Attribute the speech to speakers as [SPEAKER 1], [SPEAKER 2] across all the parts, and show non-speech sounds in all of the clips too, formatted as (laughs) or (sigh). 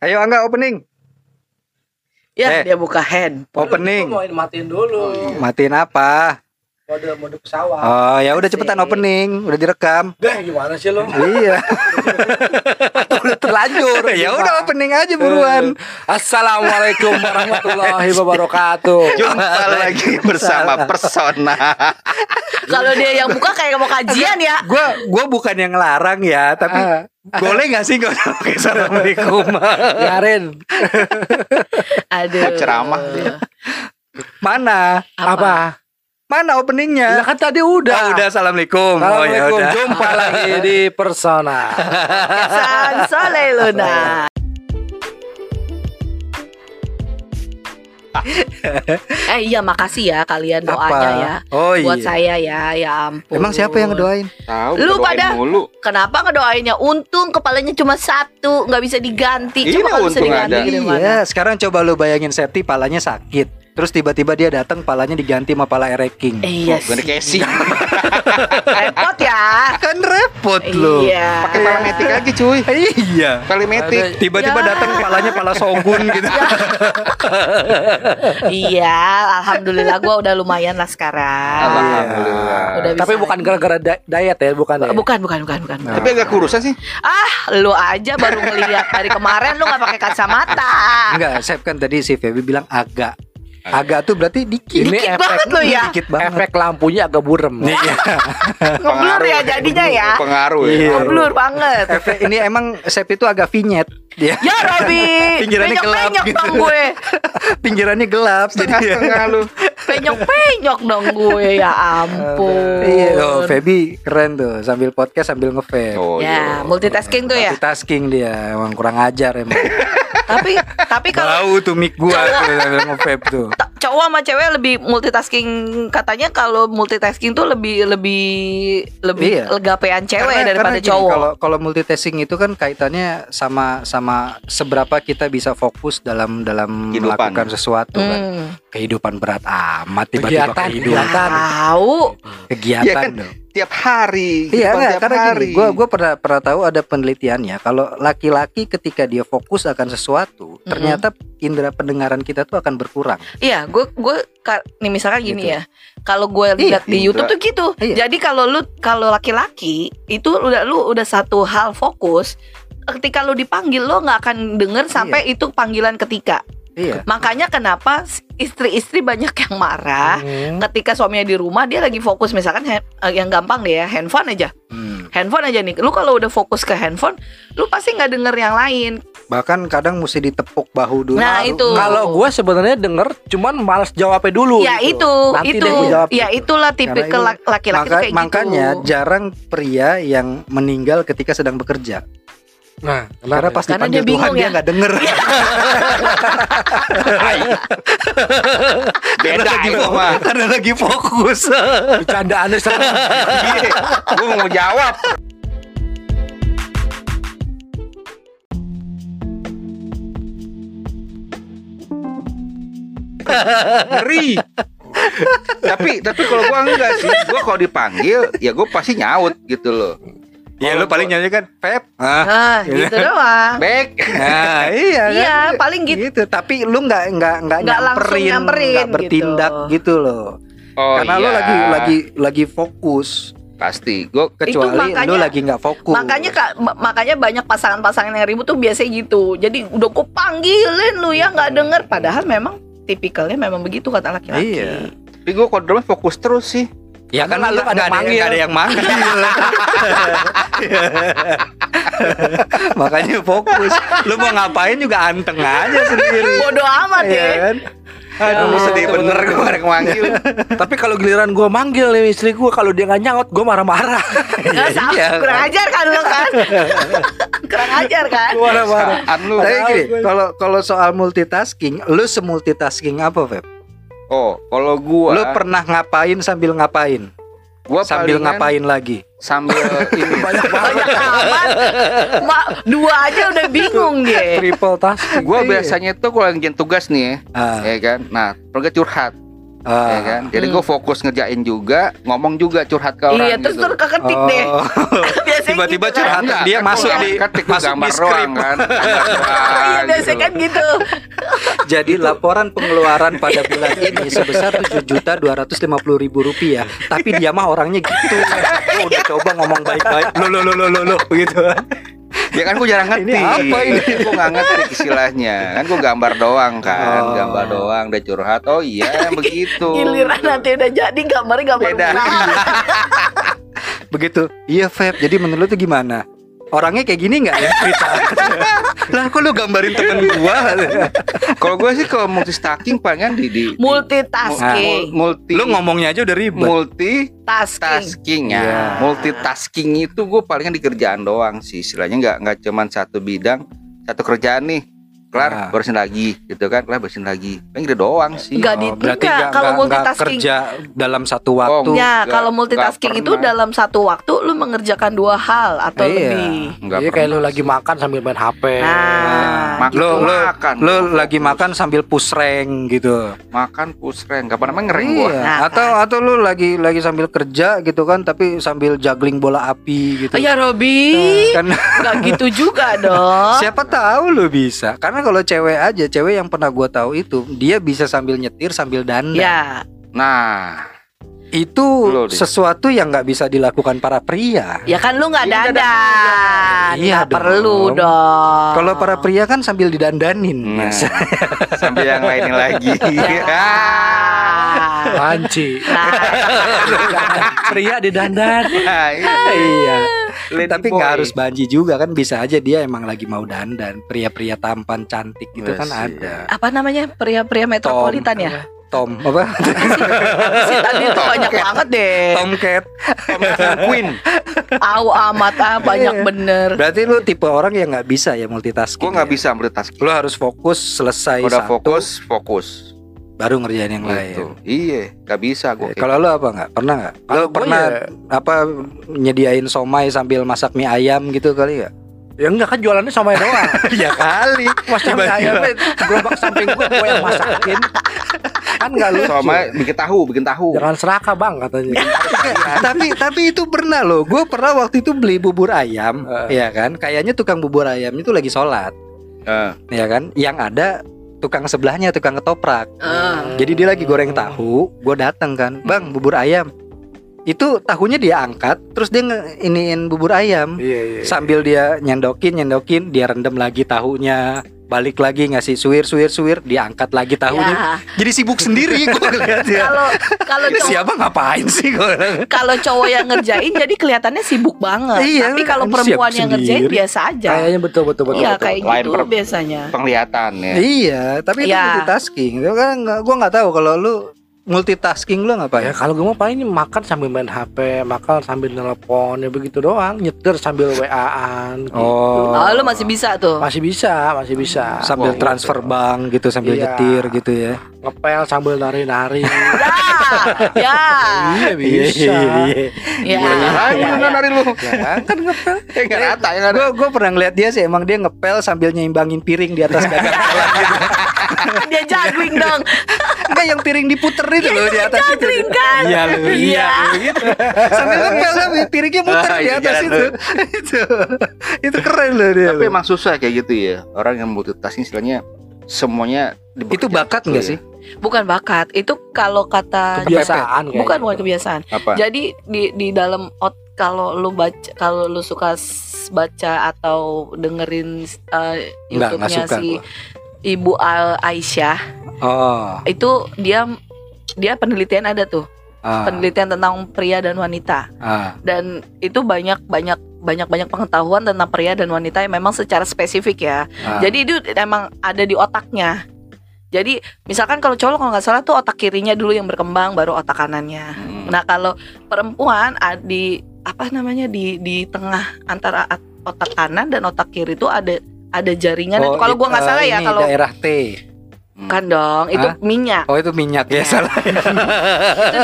[SPEAKER 1] Ayo Angga opening.
[SPEAKER 2] Ya,
[SPEAKER 1] Eh.
[SPEAKER 2] dia buka handphone.
[SPEAKER 1] Opening.
[SPEAKER 3] Gua mau matiin dulu.
[SPEAKER 4] Oh, iya.
[SPEAKER 1] Matiin apa?
[SPEAKER 3] Mode mode pesawat.
[SPEAKER 1] Oh, ya udah cepetan opening, udah direkam.
[SPEAKER 3] Dah gimana sih lo?
[SPEAKER 1] iya. (laughs) udah terlanjur. ya udah opening aja buruan. (laughs)
[SPEAKER 3] Assalamualaikum warahmatullahi wabarakatuh.
[SPEAKER 4] Jumpa lagi bersama persona.
[SPEAKER 2] (laughs) Kalau dia yang buka kayak mau kajian ya.
[SPEAKER 1] Gua gua bukan yang ngelarang ya, tapi
[SPEAKER 3] Ah.
[SPEAKER 1] boleh nggak sih gua usah pakai assalamualaikum?
[SPEAKER 3] Yarin,
[SPEAKER 2] Aduh.
[SPEAKER 4] Ceramah dia.
[SPEAKER 1] Mana?
[SPEAKER 3] apa?
[SPEAKER 1] Mana openingnya?
[SPEAKER 3] Lah kan tadi udah.
[SPEAKER 1] Ah, udah assalamualaikum. Oh ya
[SPEAKER 3] Assalamualaikum.
[SPEAKER 1] udah.
[SPEAKER 3] Jumpa
[SPEAKER 1] (laughs)
[SPEAKER 3] lagi di Persona.
[SPEAKER 2] Kesan Soleh Luna. (laughs) eh iya makasih ya kalian doanya
[SPEAKER 1] Apa?
[SPEAKER 2] ya.
[SPEAKER 1] Oh iya.
[SPEAKER 2] Buat saya ya, ya ampun.
[SPEAKER 1] Emang siapa yang ngedoain?
[SPEAKER 4] Tahu
[SPEAKER 2] Lu
[SPEAKER 4] berdoain
[SPEAKER 2] pada-
[SPEAKER 4] mulu.
[SPEAKER 2] Kenapa ngedoainnya? Untung kepalanya cuma satu, nggak bisa diganti.
[SPEAKER 4] Ini
[SPEAKER 2] Coba kalau bisa
[SPEAKER 4] untung
[SPEAKER 2] diganti
[SPEAKER 4] ada.
[SPEAKER 2] gimana?
[SPEAKER 1] Iya, sekarang coba lu bayangin Septi palanya sakit. Terus tiba-tiba dia datang palanya diganti sama pala Eric King.
[SPEAKER 2] Eh, Iya
[SPEAKER 4] Gue
[SPEAKER 2] sih.
[SPEAKER 4] (laughs) kesi.
[SPEAKER 2] Repot ya.
[SPEAKER 1] Kan repot lu.
[SPEAKER 2] Iya.
[SPEAKER 4] Pakai parametik aja cuy.
[SPEAKER 1] Iya.
[SPEAKER 4] Parametik.
[SPEAKER 1] Tiba-tiba
[SPEAKER 2] Ya.
[SPEAKER 1] datang palanya pala
[SPEAKER 2] (laughs)
[SPEAKER 1] Songgun gitu.
[SPEAKER 2] Iya, alhamdulillah gua udah lumayan lah sekarang.
[SPEAKER 4] Alhamdulillah.
[SPEAKER 2] Udah bisa
[SPEAKER 3] Tapi bukan
[SPEAKER 2] lagi.
[SPEAKER 3] gara-gara da- diet ya, bukan. ya?
[SPEAKER 2] bukan bukan bukan bukan.
[SPEAKER 1] Nah.
[SPEAKER 4] Tapi agak kurusan sih.
[SPEAKER 2] Ah, lu aja baru ngeliat dari kemarin lu nggak pakai kacamata.
[SPEAKER 1] Enggak, Sep kan tadi si Feby bilang agak. Agak tuh berarti dikit.
[SPEAKER 3] Ini
[SPEAKER 2] Dikit
[SPEAKER 3] efek-
[SPEAKER 2] banget lo ya.
[SPEAKER 1] Dikit banget.
[SPEAKER 3] Efek lampunya agak burem.
[SPEAKER 1] Iya.
[SPEAKER 2] Ngeblur ya jadinya ya.
[SPEAKER 4] Pengaruh ya.
[SPEAKER 1] Iya.
[SPEAKER 2] Ngeblur banget.
[SPEAKER 1] Efek ini emang Sep itu agak vinyet. Dia
[SPEAKER 2] Ya Robi,
[SPEAKER 1] Pinggirannya gelap
[SPEAKER 2] penyok
[SPEAKER 1] gitu.
[SPEAKER 2] dong gue,
[SPEAKER 1] (laughs) pinggirannya gelap jadi iya.
[SPEAKER 4] Setengah-setengah lu.
[SPEAKER 2] penyok penyok dong gue ya ampun.
[SPEAKER 1] Iya, oh, Feby keren tuh sambil podcast sambil nge
[SPEAKER 4] Oh,
[SPEAKER 2] Ya,
[SPEAKER 4] iya.
[SPEAKER 2] multitasking tuh ya.
[SPEAKER 1] Multitasking dia emang kurang ajar emang.
[SPEAKER 2] Tapi tapi (laughs) kalau
[SPEAKER 1] Bau tuh mic gua
[SPEAKER 2] (laughs)
[SPEAKER 1] tuh sambil nge-vape tuh.
[SPEAKER 2] ta- cowok sama cewek lebih multitasking katanya kalau multitasking tuh lebih lebih lebih
[SPEAKER 1] Iya.
[SPEAKER 2] legapean cewek ya
[SPEAKER 1] Karena-
[SPEAKER 2] daripada
[SPEAKER 1] karena gini,
[SPEAKER 2] cowok.
[SPEAKER 1] Kalau kalau multitasking itu kan kaitannya sama sama seberapa kita bisa fokus dalam dalam
[SPEAKER 4] Kehidupan.
[SPEAKER 1] melakukan sesuatu kan.
[SPEAKER 2] Hmm.
[SPEAKER 1] Kehidupan berat amat tiba-tiba
[SPEAKER 3] Kegiatan,
[SPEAKER 1] kehidupan
[SPEAKER 2] Iya.
[SPEAKER 3] kegiatan.
[SPEAKER 2] Tahu.
[SPEAKER 1] kegiatan
[SPEAKER 4] Iya kan?
[SPEAKER 1] dong.
[SPEAKER 4] Tiap
[SPEAKER 1] Iya
[SPEAKER 4] hari. kehidupan
[SPEAKER 1] enggak,
[SPEAKER 4] tiap
[SPEAKER 1] karena
[SPEAKER 4] hari.
[SPEAKER 1] gini, gua gua pernah pernah tahu ada penelitiannya kalau laki-laki ketika dia fokus akan sesuatu,
[SPEAKER 2] Hmm.
[SPEAKER 1] ternyata indera pendengaran kita tuh akan berkurang.
[SPEAKER 2] Iya, gue gue ka- nih misalkan gini
[SPEAKER 1] Gitu.
[SPEAKER 2] ya. Kalau gue lihat di
[SPEAKER 4] Indra.
[SPEAKER 2] YouTube tuh gitu.
[SPEAKER 1] Iya.
[SPEAKER 2] Jadi kalau lu kalau laki-laki itu udah lu udah satu hal fokus ketika lu dipanggil lo nggak akan denger sampai itu panggilan ketika
[SPEAKER 1] Iya.
[SPEAKER 2] makanya kenapa istri-istri banyak yang marah
[SPEAKER 3] Hmm.
[SPEAKER 2] ketika suaminya di rumah dia lagi fokus misalkan hand- eh, yang gampang deh ya handphone aja
[SPEAKER 1] Hmm.
[SPEAKER 2] handphone aja nih lu kalau udah fokus ke handphone lu pasti nggak denger yang lain
[SPEAKER 1] Bahkan kadang mesti ditepuk bahu dulu.
[SPEAKER 2] Nah,
[SPEAKER 1] Baru-
[SPEAKER 2] itu.
[SPEAKER 3] Kalau gue sebenarnya denger cuman males jawabnya dulu.
[SPEAKER 2] ya
[SPEAKER 3] gitu.
[SPEAKER 2] itu
[SPEAKER 3] Nanti
[SPEAKER 2] itu
[SPEAKER 3] deh gua jawab
[SPEAKER 2] ya itulah tipikal
[SPEAKER 1] Karena
[SPEAKER 2] lak- laki-laki tuh
[SPEAKER 1] Maka-
[SPEAKER 2] kayak
[SPEAKER 1] makanya
[SPEAKER 2] gitu
[SPEAKER 1] jarang pria yang meninggal ketika sedang bekerja.
[SPEAKER 3] Nah,
[SPEAKER 1] Karena
[SPEAKER 3] kenapa?
[SPEAKER 1] pasti
[SPEAKER 2] Karena
[SPEAKER 1] panggil
[SPEAKER 2] dia bingung
[SPEAKER 1] Tuhan dia
[SPEAKER 2] ya.
[SPEAKER 1] nggak
[SPEAKER 2] (laughs)
[SPEAKER 1] denger.
[SPEAKER 4] Beda itu mah.
[SPEAKER 1] Karena lagi fokus.
[SPEAKER 3] bercandaannya
[SPEAKER 1] (laughs)
[SPEAKER 3] serem.
[SPEAKER 4] Iya, Gua mau jawab. Ngeri. tapi tapi kalau gua enggak sih, gua kalau dipanggil ya gua pasti nyaut gitu loh.
[SPEAKER 1] ya lu paling nyanyi kan Feb.
[SPEAKER 2] ah
[SPEAKER 1] (laughs)
[SPEAKER 2] gitu doang
[SPEAKER 4] Back.
[SPEAKER 1] Nah, (laughs) iya. kan?
[SPEAKER 2] Iya, paling gitu.
[SPEAKER 1] Tapi lu nggak nggak nggak
[SPEAKER 2] Nggak langsung
[SPEAKER 1] nyamperin,
[SPEAKER 2] nyamperin
[SPEAKER 1] nggak
[SPEAKER 2] gitu.
[SPEAKER 1] bertindak gitu, loh.
[SPEAKER 4] Oh,
[SPEAKER 1] Karena lu
[SPEAKER 4] iya.
[SPEAKER 1] lagi lagi lagi fokus.
[SPEAKER 4] pasti gua
[SPEAKER 1] Iya, Kecuali
[SPEAKER 2] makanya-
[SPEAKER 1] lu lagi nggak fokus.
[SPEAKER 2] Makanya Kak, ma- makanya banyak pasangan-pasangan yang ribut tuh biasanya gitu. Jadi udah ku panggilin lu ya nggak denger padahal memang tipikalnya memang begitu kata laki-laki.
[SPEAKER 1] Iya.
[SPEAKER 4] tapi gua kalau di rumah fokus terus sih.
[SPEAKER 1] Ya kan
[SPEAKER 3] Karena
[SPEAKER 1] lu
[SPEAKER 3] lu ada
[SPEAKER 1] nggak ada,
[SPEAKER 3] manggil.
[SPEAKER 1] nggak ada yang manggil. (laughs) Makanya fokus. Lu mau ngapain juga anteng aja sendiri.
[SPEAKER 2] Bodoh amat
[SPEAKER 1] Iya
[SPEAKER 2] ya.
[SPEAKER 1] kan?
[SPEAKER 4] Aduh, sedih bener kemarin manggil.
[SPEAKER 3] Tapi kalau giliran gue manggil nih istri gue, kalau dia nggak nyaut, gue marah-marah.
[SPEAKER 2] Nggak sama,
[SPEAKER 1] Iya.
[SPEAKER 2] kurang ajar kan lu kan.
[SPEAKER 1] (laughs)
[SPEAKER 2] kurang ajar kan.
[SPEAKER 3] Iya,
[SPEAKER 4] Apaan lu?
[SPEAKER 1] Tapi gini, kalau kalau soal multitasking, lu semultitasking apa, Feb?
[SPEAKER 4] Oh, kalau gua
[SPEAKER 1] Lu pernah ngapain sambil ngapain?
[SPEAKER 4] gua
[SPEAKER 1] sambil
[SPEAKER 4] palingan
[SPEAKER 1] ngapain lagi?
[SPEAKER 4] Sambil ini
[SPEAKER 3] Banyak
[SPEAKER 2] Banyak amat. Ma, dua aja udah bingung dia.
[SPEAKER 3] triple tas.
[SPEAKER 4] Gua
[SPEAKER 1] Iya.
[SPEAKER 4] biasanya tuh kalau lagi tugas nih ya,
[SPEAKER 1] Ah,
[SPEAKER 4] ya kan. Nah, pergi curhat.
[SPEAKER 1] Ah.
[SPEAKER 4] ya kan jadi gue fokus ngerjain juga ngomong juga curhat ke
[SPEAKER 2] Hmm.
[SPEAKER 4] orang
[SPEAKER 2] Iya, terus
[SPEAKER 4] gitu.
[SPEAKER 2] terus keketik
[SPEAKER 1] Oh.
[SPEAKER 2] deh. (laughs) Biasanya
[SPEAKER 3] Tiba-tiba
[SPEAKER 2] gitu kan.
[SPEAKER 3] curhat.
[SPEAKER 4] Enggak,
[SPEAKER 3] dia
[SPEAKER 4] kan
[SPEAKER 3] masuk
[SPEAKER 4] gua
[SPEAKER 3] di-
[SPEAKER 4] ketik tuh
[SPEAKER 3] masuk di
[SPEAKER 4] gambar
[SPEAKER 3] skrip.
[SPEAKER 4] doang
[SPEAKER 2] (laughs)
[SPEAKER 4] kan
[SPEAKER 2] Iya,
[SPEAKER 4] Gambar
[SPEAKER 2] biasanya
[SPEAKER 4] gitu.
[SPEAKER 2] kan gitu.
[SPEAKER 1] Jadi laporan pengeluaran pada (laughs) bulan ini sebesar tujuh juta dua ratus lima puluh ribu rupiah. Tapi dia mah orangnya gitu. Gua udah coba ngomong baik-baik. Lo lo lo lo lo lo gitu.
[SPEAKER 4] Ya kan gue jarang ngerti.
[SPEAKER 1] Ini apa
[SPEAKER 4] (laughs)
[SPEAKER 1] ini?
[SPEAKER 4] Gue nggak ngerti istilahnya. Kan gue gambar doang kan,
[SPEAKER 1] Oh.
[SPEAKER 4] gambar doang. Udah curhat. Oh iya begitu.
[SPEAKER 2] Giliran nanti udah jadi gambarnya gambar
[SPEAKER 4] Beda.
[SPEAKER 2] murah.
[SPEAKER 1] Begitu. Iya Feb. Jadi menurut lu tuh gimana? Orangnya kayak gini nggak ya cerita? lah kok lu gambarin temen gua?
[SPEAKER 4] Kalau gue sih kalau multitasking pengen di di
[SPEAKER 2] Multitasking,
[SPEAKER 4] Nah, mul- multi
[SPEAKER 3] Lu ngomongnya aja udah ribet.
[SPEAKER 4] multitasking
[SPEAKER 2] tasking.
[SPEAKER 4] ya.
[SPEAKER 1] Iya.
[SPEAKER 4] Multitasking itu gue palingan di kerjaan doang sih. Istilahnya nggak nggak cuman satu bidang, satu kerjaan nih.
[SPEAKER 1] Ah.
[SPEAKER 4] Kelar bersin lagi gitu kan. Kelar bersin lagi. Pengen gitu doang sih.
[SPEAKER 2] Enggak di
[SPEAKER 1] Oh, berarti
[SPEAKER 2] enggak,
[SPEAKER 1] nggak
[SPEAKER 2] kalau
[SPEAKER 1] nggak- nggak
[SPEAKER 2] multitasking.
[SPEAKER 1] kerja dalam satu
[SPEAKER 4] Oh,
[SPEAKER 1] waktu.
[SPEAKER 2] Ya,
[SPEAKER 4] Nggak-
[SPEAKER 2] kalau
[SPEAKER 4] nggak
[SPEAKER 2] multitasking itu
[SPEAKER 4] pernah. Iya.
[SPEAKER 2] dalam satu waktu lu mengerjakan dua hal atau
[SPEAKER 1] Jadi
[SPEAKER 2] lebih.
[SPEAKER 4] Nggak
[SPEAKER 1] Iya, kayak
[SPEAKER 4] pernah
[SPEAKER 1] lu lagi makan sambil main HP.
[SPEAKER 2] Nah,
[SPEAKER 4] Makan,
[SPEAKER 1] Lu lu
[SPEAKER 4] makan,
[SPEAKER 1] lu lagi makan sambil pusreng gitu.
[SPEAKER 4] makan pusren. Gak pernah ngering gue.
[SPEAKER 1] Iya.
[SPEAKER 2] Nah.
[SPEAKER 1] Atau atau lu lagi lagi sambil kerja gitu kan tapi sambil juggling bola api gitu.
[SPEAKER 2] Ya Robi,
[SPEAKER 1] Kan (laughs)
[SPEAKER 2] nggak gitu
[SPEAKER 4] (laughs)
[SPEAKER 2] juga dong.
[SPEAKER 1] siapa tahu lu bisa. Karena kalau cewek aja, cewek yang pernah gua tahu itu dia bisa sambil nyetir sambil dandan.
[SPEAKER 2] Ya,
[SPEAKER 4] Nah,
[SPEAKER 1] Itu
[SPEAKER 4] Lu deh.
[SPEAKER 1] sesuatu yang nggak bisa dilakukan para pria.
[SPEAKER 2] ya kan lu nggak
[SPEAKER 4] Ini nggak
[SPEAKER 2] dandan,
[SPEAKER 1] Iya
[SPEAKER 2] nggak
[SPEAKER 1] dong.
[SPEAKER 2] perlu dong.
[SPEAKER 1] Kalau para pria kan sambil didandanin.
[SPEAKER 4] Nah, (laughs)
[SPEAKER 1] Mas.
[SPEAKER 4] sampai yang lainnya
[SPEAKER 1] (laughs)
[SPEAKER 4] lagi.
[SPEAKER 2] Ya.
[SPEAKER 1] Ah.
[SPEAKER 3] Panci.
[SPEAKER 2] Nah,
[SPEAKER 3] Pria di dandan.
[SPEAKER 4] Ah, iya.
[SPEAKER 1] (laughs) iya.
[SPEAKER 4] Lady
[SPEAKER 1] Tapi
[SPEAKER 4] boy.
[SPEAKER 1] nggak harus banji juga kan bisa aja dia emang lagi mau dandan. Pria-pria tampan cantik gitu kan
[SPEAKER 4] Wes,
[SPEAKER 1] ada.
[SPEAKER 2] apa namanya pria-pria metropolitan ya?
[SPEAKER 1] Tom apa?
[SPEAKER 2] Si tadi tuh banyak banget deh.
[SPEAKER 1] Tomcat.
[SPEAKER 4] Queen.
[SPEAKER 2] Tahu amat ah banyak
[SPEAKER 1] Iya.
[SPEAKER 2] bener.
[SPEAKER 1] Berarti lu tipe orang yang nggak bisa ya multitasking.
[SPEAKER 4] Gue nggak
[SPEAKER 1] ya?
[SPEAKER 4] bisa multitasking.
[SPEAKER 1] Lu harus fokus selesai
[SPEAKER 4] Udah
[SPEAKER 1] satu,
[SPEAKER 4] fokus, fokus.
[SPEAKER 1] baru ngerjain yang
[SPEAKER 4] Gitu.
[SPEAKER 1] lain.
[SPEAKER 4] Iya, nggak bisa
[SPEAKER 1] Eh,
[SPEAKER 4] gue.
[SPEAKER 1] Kalau lu apa nggak? Pernah nggak? Lu
[SPEAKER 3] Kalau gua
[SPEAKER 1] pernah
[SPEAKER 3] ya-
[SPEAKER 1] apa nyediain somai sambil masak mie ayam gitu kali nggak?
[SPEAKER 3] Ya enggak kan jualannya sama doang.
[SPEAKER 2] (laughs)
[SPEAKER 1] ya kali.
[SPEAKER 3] Mas
[SPEAKER 1] Tiba-tiba.
[SPEAKER 3] ayamnya gerobak samping gua gua yang masakin. Kan enggak lucu.
[SPEAKER 1] Iya.
[SPEAKER 4] Sama bikin tahu, bikin tahu.
[SPEAKER 1] Ya.
[SPEAKER 3] Jangan seraka bang katanya.
[SPEAKER 1] tapi tapi itu pernah loh. Gue pernah waktu itu beli bubur ayam,
[SPEAKER 3] Eh.
[SPEAKER 1] ya kan? Kayaknya tukang bubur ayam itu lagi sholat,
[SPEAKER 4] Eh,
[SPEAKER 1] ya kan? Yang ada tukang sebelahnya tukang ketoprak.
[SPEAKER 2] Eh,
[SPEAKER 1] Jadi dia lagi goreng tahu, gue datang kan, bang bubur ayam. Itu tahunya dia angkat, terus dia nge- iniin bubur ayam.
[SPEAKER 3] Iya iya.
[SPEAKER 1] Sambil dia nyendokin, nyendokin, dia rendam lagi tahunya, balik lagi ngasih suwir, suwir, suwir, diangkat lagi tahunya.
[SPEAKER 2] ya.
[SPEAKER 1] Jadi sibuk sendiri gue ngeliat ya.
[SPEAKER 2] Kalau kalau
[SPEAKER 1] Ini
[SPEAKER 2] cowok-
[SPEAKER 1] siapa ngapain sih gue?
[SPEAKER 2] kalau cowok yang ngerjain jadi kelihatannya sibuk banget.
[SPEAKER 1] Iya,
[SPEAKER 2] Tapi kalau
[SPEAKER 1] siap
[SPEAKER 2] perempuan yang ngerjain
[SPEAKER 1] sendiri.
[SPEAKER 2] biasa aja.
[SPEAKER 3] Kayaknya betul betul betul.
[SPEAKER 2] Iya
[SPEAKER 3] betul.
[SPEAKER 2] kayak
[SPEAKER 4] Lain
[SPEAKER 2] gitu
[SPEAKER 4] per-
[SPEAKER 2] biasanya.
[SPEAKER 4] penglihatan ya.
[SPEAKER 1] Iya, tapi itu
[SPEAKER 2] Iya.
[SPEAKER 1] multitasking. Itu kan nggak- gua nggak tahu kalau lu multitasking lu
[SPEAKER 3] Ya
[SPEAKER 1] ngapain?
[SPEAKER 3] kalau gue mau paling makan sambil main HP, makan sambil nelpon ya begitu doang, nyetir sambil WA-an. gitu.
[SPEAKER 1] Oh.
[SPEAKER 2] Oh, lu masih bisa tuh.
[SPEAKER 3] Masih bisa, masih bisa.
[SPEAKER 1] Sambil
[SPEAKER 4] Wah,
[SPEAKER 1] transfer
[SPEAKER 4] gitu.
[SPEAKER 1] bank gitu, sambil
[SPEAKER 3] Iya.
[SPEAKER 1] nyetir gitu ya.
[SPEAKER 3] Ngepel sambil nari-nari.
[SPEAKER 2] Ya, ya,
[SPEAKER 3] iya bisa.
[SPEAKER 2] ya.
[SPEAKER 4] Ayo
[SPEAKER 2] ya,
[SPEAKER 4] nari lu.
[SPEAKER 1] Ya kan? kan ngepel.
[SPEAKER 4] Eh, nggak rata ya kan.
[SPEAKER 1] Gue gue pernah ngeliat dia sih emang dia ngepel sambil nyimbangin piring di atas dada.
[SPEAKER 2] (laughs) Kan Dia juggling dong.
[SPEAKER 1] Enggak yang piring diputer itu
[SPEAKER 2] Iya,
[SPEAKER 1] loh di atas itu.
[SPEAKER 2] Juggling kan?
[SPEAKER 3] Iya lu.
[SPEAKER 2] Iya.
[SPEAKER 1] Sambil ngepel tapi piringnya muter
[SPEAKER 4] Ah,
[SPEAKER 1] di
[SPEAKER 4] itu
[SPEAKER 1] atas
[SPEAKER 4] jalan
[SPEAKER 1] itu. (laughs) itu. Itu keren loh dia.
[SPEAKER 4] Tapi
[SPEAKER 1] loh.
[SPEAKER 4] emang susah kayak gitu ya. Orang yang multitasking istilahnya semuanya dibekerjakan
[SPEAKER 1] itu bakat
[SPEAKER 4] gitu
[SPEAKER 1] enggak
[SPEAKER 4] ya.
[SPEAKER 1] sih?
[SPEAKER 2] Iya. Bukan bakat, itu kalau kata
[SPEAKER 3] Kebiasaan Iya, kayak.
[SPEAKER 2] bukan bukan kebiasaan.
[SPEAKER 4] Apa?
[SPEAKER 1] Ya,
[SPEAKER 2] Jadi di di dalam out kalau lu baca kalau lu suka s- baca atau dengerin uh,
[SPEAKER 1] Enggak, enggak
[SPEAKER 2] YouTube-nya
[SPEAKER 1] suka
[SPEAKER 2] si
[SPEAKER 1] gua.
[SPEAKER 2] Ibu Al Aisyah
[SPEAKER 1] Oh.
[SPEAKER 2] itu dia dia penelitian ada tuh
[SPEAKER 1] Ah,
[SPEAKER 2] penelitian tentang pria dan wanita
[SPEAKER 1] ah.
[SPEAKER 2] dan itu banyak banyak banyak banyak pengetahuan tentang pria dan wanita yang memang secara spesifik ya.
[SPEAKER 1] Ah.
[SPEAKER 2] Jadi itu emang ada di otaknya. Jadi misalkan kalau cowok kalau nggak salah tuh otak kirinya dulu yang berkembang baru otak kanannya.
[SPEAKER 4] Hmm.
[SPEAKER 2] Nah kalau perempuan ah, di apa namanya di di tengah antara at- otak kanan dan otak kiri itu ada ada jaringan.
[SPEAKER 1] Oh,
[SPEAKER 2] itu kalau gua nggak
[SPEAKER 1] eh,
[SPEAKER 2] salah ya
[SPEAKER 1] ini
[SPEAKER 2] kalau
[SPEAKER 1] daerah T.
[SPEAKER 4] Hmm.
[SPEAKER 2] kan dong itu
[SPEAKER 1] Hah?
[SPEAKER 2] minyak
[SPEAKER 1] Oh, itu minyak ya,
[SPEAKER 2] Ya.
[SPEAKER 1] salah.
[SPEAKER 2] itu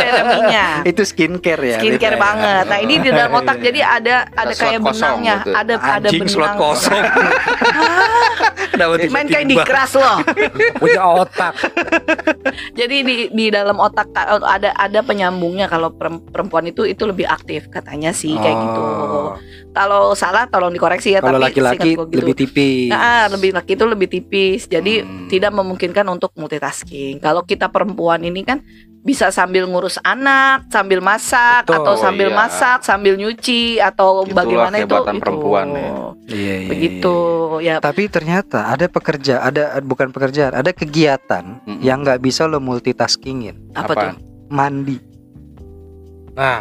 [SPEAKER 2] daerah minyak.
[SPEAKER 1] (laughs) itu skincare ya. beda Iya, ya.
[SPEAKER 2] Skincare
[SPEAKER 1] Iya,
[SPEAKER 2] banget. Nah ini di
[SPEAKER 1] (laughs)
[SPEAKER 2] dalam otak jadi ada ada
[SPEAKER 4] slot
[SPEAKER 2] kayak
[SPEAKER 4] kosong
[SPEAKER 1] ya.
[SPEAKER 2] benangnya,
[SPEAKER 4] gitu.
[SPEAKER 2] ada ada (laughs)
[SPEAKER 1] Anjing slot
[SPEAKER 2] benang.
[SPEAKER 1] kosong. Kenapa Ya,
[SPEAKER 2] Main kayak di keras loh.
[SPEAKER 3] punya otak
[SPEAKER 2] Jadi di di dalam otak ka- eh, ada ada penyambungnya kalau perem- perempuan itu itu lebih aktif katanya sih kayak gitu.
[SPEAKER 1] Oh.
[SPEAKER 2] Kalau salah tolong dikoreksi ya
[SPEAKER 1] Kalau
[SPEAKER 2] tapi
[SPEAKER 1] laki-laki
[SPEAKER 2] seingat gua gitu.
[SPEAKER 1] lebih tipis.
[SPEAKER 2] Nah, ah, lebih laki itu lebih tipis. Jadi
[SPEAKER 4] Hmm.
[SPEAKER 2] tidak memungkinkan untuk multitasking. Kalau kita perempuan ini kan bisa sambil ngurus anak, sambil masak
[SPEAKER 3] Betul,
[SPEAKER 2] atau sambil
[SPEAKER 4] iya.
[SPEAKER 2] masak, sambil nyuci atau
[SPEAKER 4] Itulah
[SPEAKER 2] bagaimana itu
[SPEAKER 4] kehebatan
[SPEAKER 2] itu.
[SPEAKER 4] perempuan ya.
[SPEAKER 1] Iya, iya,
[SPEAKER 2] Begitu
[SPEAKER 4] iya.
[SPEAKER 2] ya.
[SPEAKER 1] Tapi ternyata ada pekerja, ada bukan pekerjaan, ada kegiatan
[SPEAKER 4] Mm-mm.
[SPEAKER 1] yang nggak bisa lo multitaskingin.
[SPEAKER 2] Apa tuh?
[SPEAKER 4] Apaan?
[SPEAKER 1] Mandi.
[SPEAKER 3] nah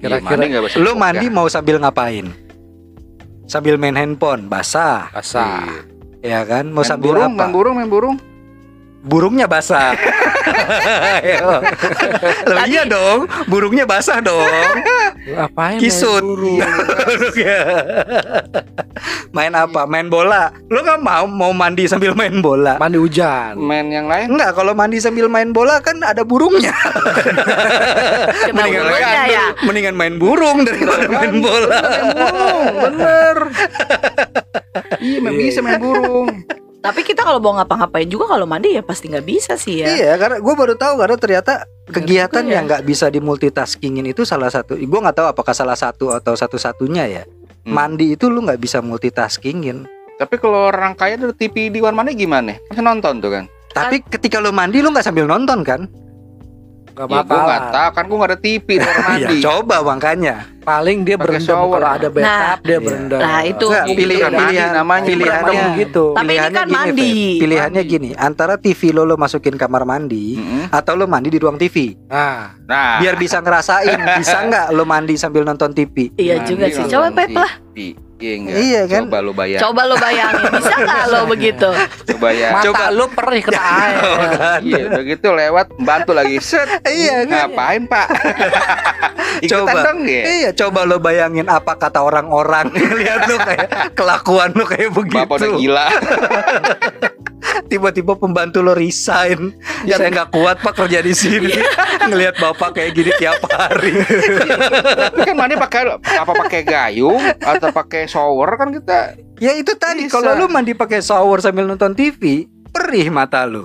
[SPEAKER 4] Iya, mandi
[SPEAKER 3] kira-kira
[SPEAKER 4] nggak basah
[SPEAKER 1] Lo
[SPEAKER 4] juga.
[SPEAKER 1] mandi mau sambil ngapain? Sambil main handphone, basah,
[SPEAKER 3] basah
[SPEAKER 1] ya
[SPEAKER 4] Iya.
[SPEAKER 1] kan? Mau
[SPEAKER 4] Main
[SPEAKER 1] sambil
[SPEAKER 4] burung,
[SPEAKER 1] apa?
[SPEAKER 4] main burung, main burung.
[SPEAKER 1] Burungnya
[SPEAKER 4] (laughs)
[SPEAKER 1] basah. Ayo. Loh, iya dong, burungnya basah dong. (laughs)
[SPEAKER 3] Lu apain main
[SPEAKER 1] Kisut.
[SPEAKER 3] burung?
[SPEAKER 1] main apa? Main bola. Lo nggak mau mau mandi sambil main bola?
[SPEAKER 3] mandi
[SPEAKER 1] Kan.
[SPEAKER 3] hujan
[SPEAKER 4] Main yang lain.
[SPEAKER 1] Enggak, kalau mandi sambil main bola kan ada burungnya.
[SPEAKER 2] Cuma
[SPEAKER 1] Mendingan
[SPEAKER 2] burungnya
[SPEAKER 1] main,
[SPEAKER 2] ya.
[SPEAKER 1] mendingan main burung daripada main bola.
[SPEAKER 4] bener. Iya, memang bisa main burung.
[SPEAKER 1] (laughs)
[SPEAKER 2] Tapi kita kalau mau ngapa-ngapain juga kalau mandi ya pasti nggak bisa sih ya.
[SPEAKER 1] Iya, karena gue baru tahu karena ternyata kegiatan
[SPEAKER 2] juga ya.
[SPEAKER 1] yang nggak bisa di multitaskingin itu salah satu. Gue nggak tahu apakah salah satu atau satu-satunya ya.
[SPEAKER 4] Hmm.
[SPEAKER 1] Mandi itu lu nggak bisa multitaskingin.
[SPEAKER 4] Tapi kalau orang kaya dari TV di mana gimana? Masih nonton tuh kan?
[SPEAKER 1] Tapi ketika lu mandi lu nggak sambil nonton kan?
[SPEAKER 3] gak
[SPEAKER 4] Ya gue nggak
[SPEAKER 3] bakalan
[SPEAKER 4] tahu kan gue nggak ada TV di kamar mandi.
[SPEAKER 1] Iya, coba makanya.
[SPEAKER 3] paling dia
[SPEAKER 4] Pakai
[SPEAKER 3] berendam
[SPEAKER 4] shower.
[SPEAKER 3] kalau ada
[SPEAKER 2] Nah.
[SPEAKER 3] bathtub dia
[SPEAKER 1] Iya.
[SPEAKER 3] berendam
[SPEAKER 2] Nah, itu.
[SPEAKER 1] Nggak,
[SPEAKER 4] Itu
[SPEAKER 1] pilihan
[SPEAKER 4] kan mandi
[SPEAKER 1] pilihan
[SPEAKER 4] namanya.
[SPEAKER 1] pilihannya gitu.
[SPEAKER 3] Pilihannya begitu
[SPEAKER 2] Tapi ini kan
[SPEAKER 1] pilihannya gini,
[SPEAKER 2] mandi.
[SPEAKER 1] Feb. Pilihannya
[SPEAKER 4] Mandi.
[SPEAKER 1] gini, antara TV lo lo masukin kamar mandi
[SPEAKER 4] Mm-mm.
[SPEAKER 1] atau lo mandi di ruang TV.
[SPEAKER 3] nah
[SPEAKER 4] Nah,
[SPEAKER 1] Biar bisa ngerasain, bisa nggak lo mandi sambil nonton TV?
[SPEAKER 2] Iya
[SPEAKER 4] mandi
[SPEAKER 2] juga sih.
[SPEAKER 4] nonton
[SPEAKER 2] Coba Pep lah.
[SPEAKER 4] TV. Iya enggak?
[SPEAKER 1] Iya kan?
[SPEAKER 4] Coba lu bayar.
[SPEAKER 2] Coba lo bayangin bisa nggak lo begitu?
[SPEAKER 4] Coba ya.
[SPEAKER 3] mata
[SPEAKER 1] Coba.
[SPEAKER 3] lu perih kena air
[SPEAKER 4] Iya, udah gitu lewat bantu lagi. Set.
[SPEAKER 1] Iya, kan?
[SPEAKER 4] Ngapain,
[SPEAKER 1] (laughs)
[SPEAKER 4] Pak? Ikutan
[SPEAKER 1] Coba.
[SPEAKER 4] dong ya.
[SPEAKER 1] Iya, coba lo bayangin apa kata orang-orang (laughs) lihat lo kayak kelakuan lo kayak
[SPEAKER 4] Bapak udah
[SPEAKER 1] begitu.
[SPEAKER 4] gila.
[SPEAKER 1] Tiba-tiba pembantu lo resign. Ya saya nggak kuat pak kerja di sini. (laughs) Ngelihat bapak kayak gini tiap hari.
[SPEAKER 4] Tapi kan mandi pakai apa pakai gayung atau pakai shower kan kita
[SPEAKER 1] ya itu tadi
[SPEAKER 4] Bisa.
[SPEAKER 1] kalau lo mandi pakai shower sambil nonton TV, perih mata lo.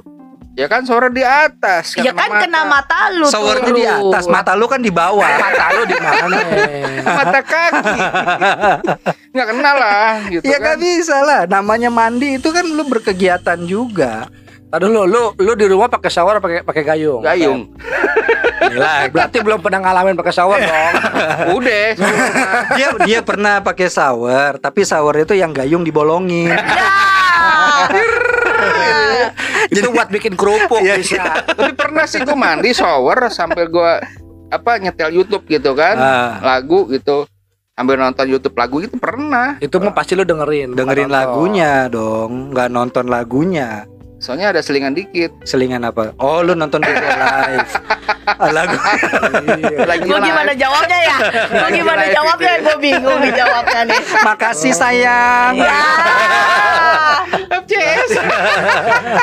[SPEAKER 4] ya kan shower di atas
[SPEAKER 2] ya kan kena mata lu
[SPEAKER 1] Showernya
[SPEAKER 2] turun.
[SPEAKER 1] di atas, mata lo kan di bawah.
[SPEAKER 3] mata lu di mana eh.
[SPEAKER 4] mata kaki nggak kenal lah
[SPEAKER 1] (laughs)
[SPEAKER 4] gitu
[SPEAKER 1] Ya nggak
[SPEAKER 4] kan
[SPEAKER 1] bisa lah. Namanya mandi itu kan lo berkegiatan juga.
[SPEAKER 3] Tadi lu, lu lu di rumah pakai shower pakai pakai gayung.
[SPEAKER 4] gayung
[SPEAKER 1] Gila,
[SPEAKER 3] Berarti belum pernah ngalamin pakai shower
[SPEAKER 1] Iya.
[SPEAKER 3] dong.
[SPEAKER 4] udah
[SPEAKER 1] dia dia pernah pakai shower tapi shower itu yang gayung dibolongin
[SPEAKER 3] itu buat bikin kerupuk
[SPEAKER 1] (laughs) Iya,
[SPEAKER 3] bisa.
[SPEAKER 4] tapi pernah sih gue mandi shower sambil gue apa nyetel YouTube gitu kan
[SPEAKER 1] Ah,
[SPEAKER 4] lagu gitu sambil nonton YouTube lagu itu pernah
[SPEAKER 3] Itu mah pasti lu dengerin.
[SPEAKER 1] dengerin
[SPEAKER 3] bukan nonton.
[SPEAKER 1] lagunya dong nggak nonton lagunya
[SPEAKER 4] soalnya ada selingan dikit
[SPEAKER 1] selingan apa oh lu nonton video live Ah, (laughs) lagu
[SPEAKER 3] Iya.
[SPEAKER 4] lagi
[SPEAKER 2] Gue gimana
[SPEAKER 4] live.
[SPEAKER 2] jawabnya ya? Gue gimana
[SPEAKER 4] Live
[SPEAKER 2] jawabnya?
[SPEAKER 4] gitu ya.
[SPEAKER 2] Gue bingung nih jawabnya nih.
[SPEAKER 1] makasih sayang
[SPEAKER 2] Ya.
[SPEAKER 4] FCS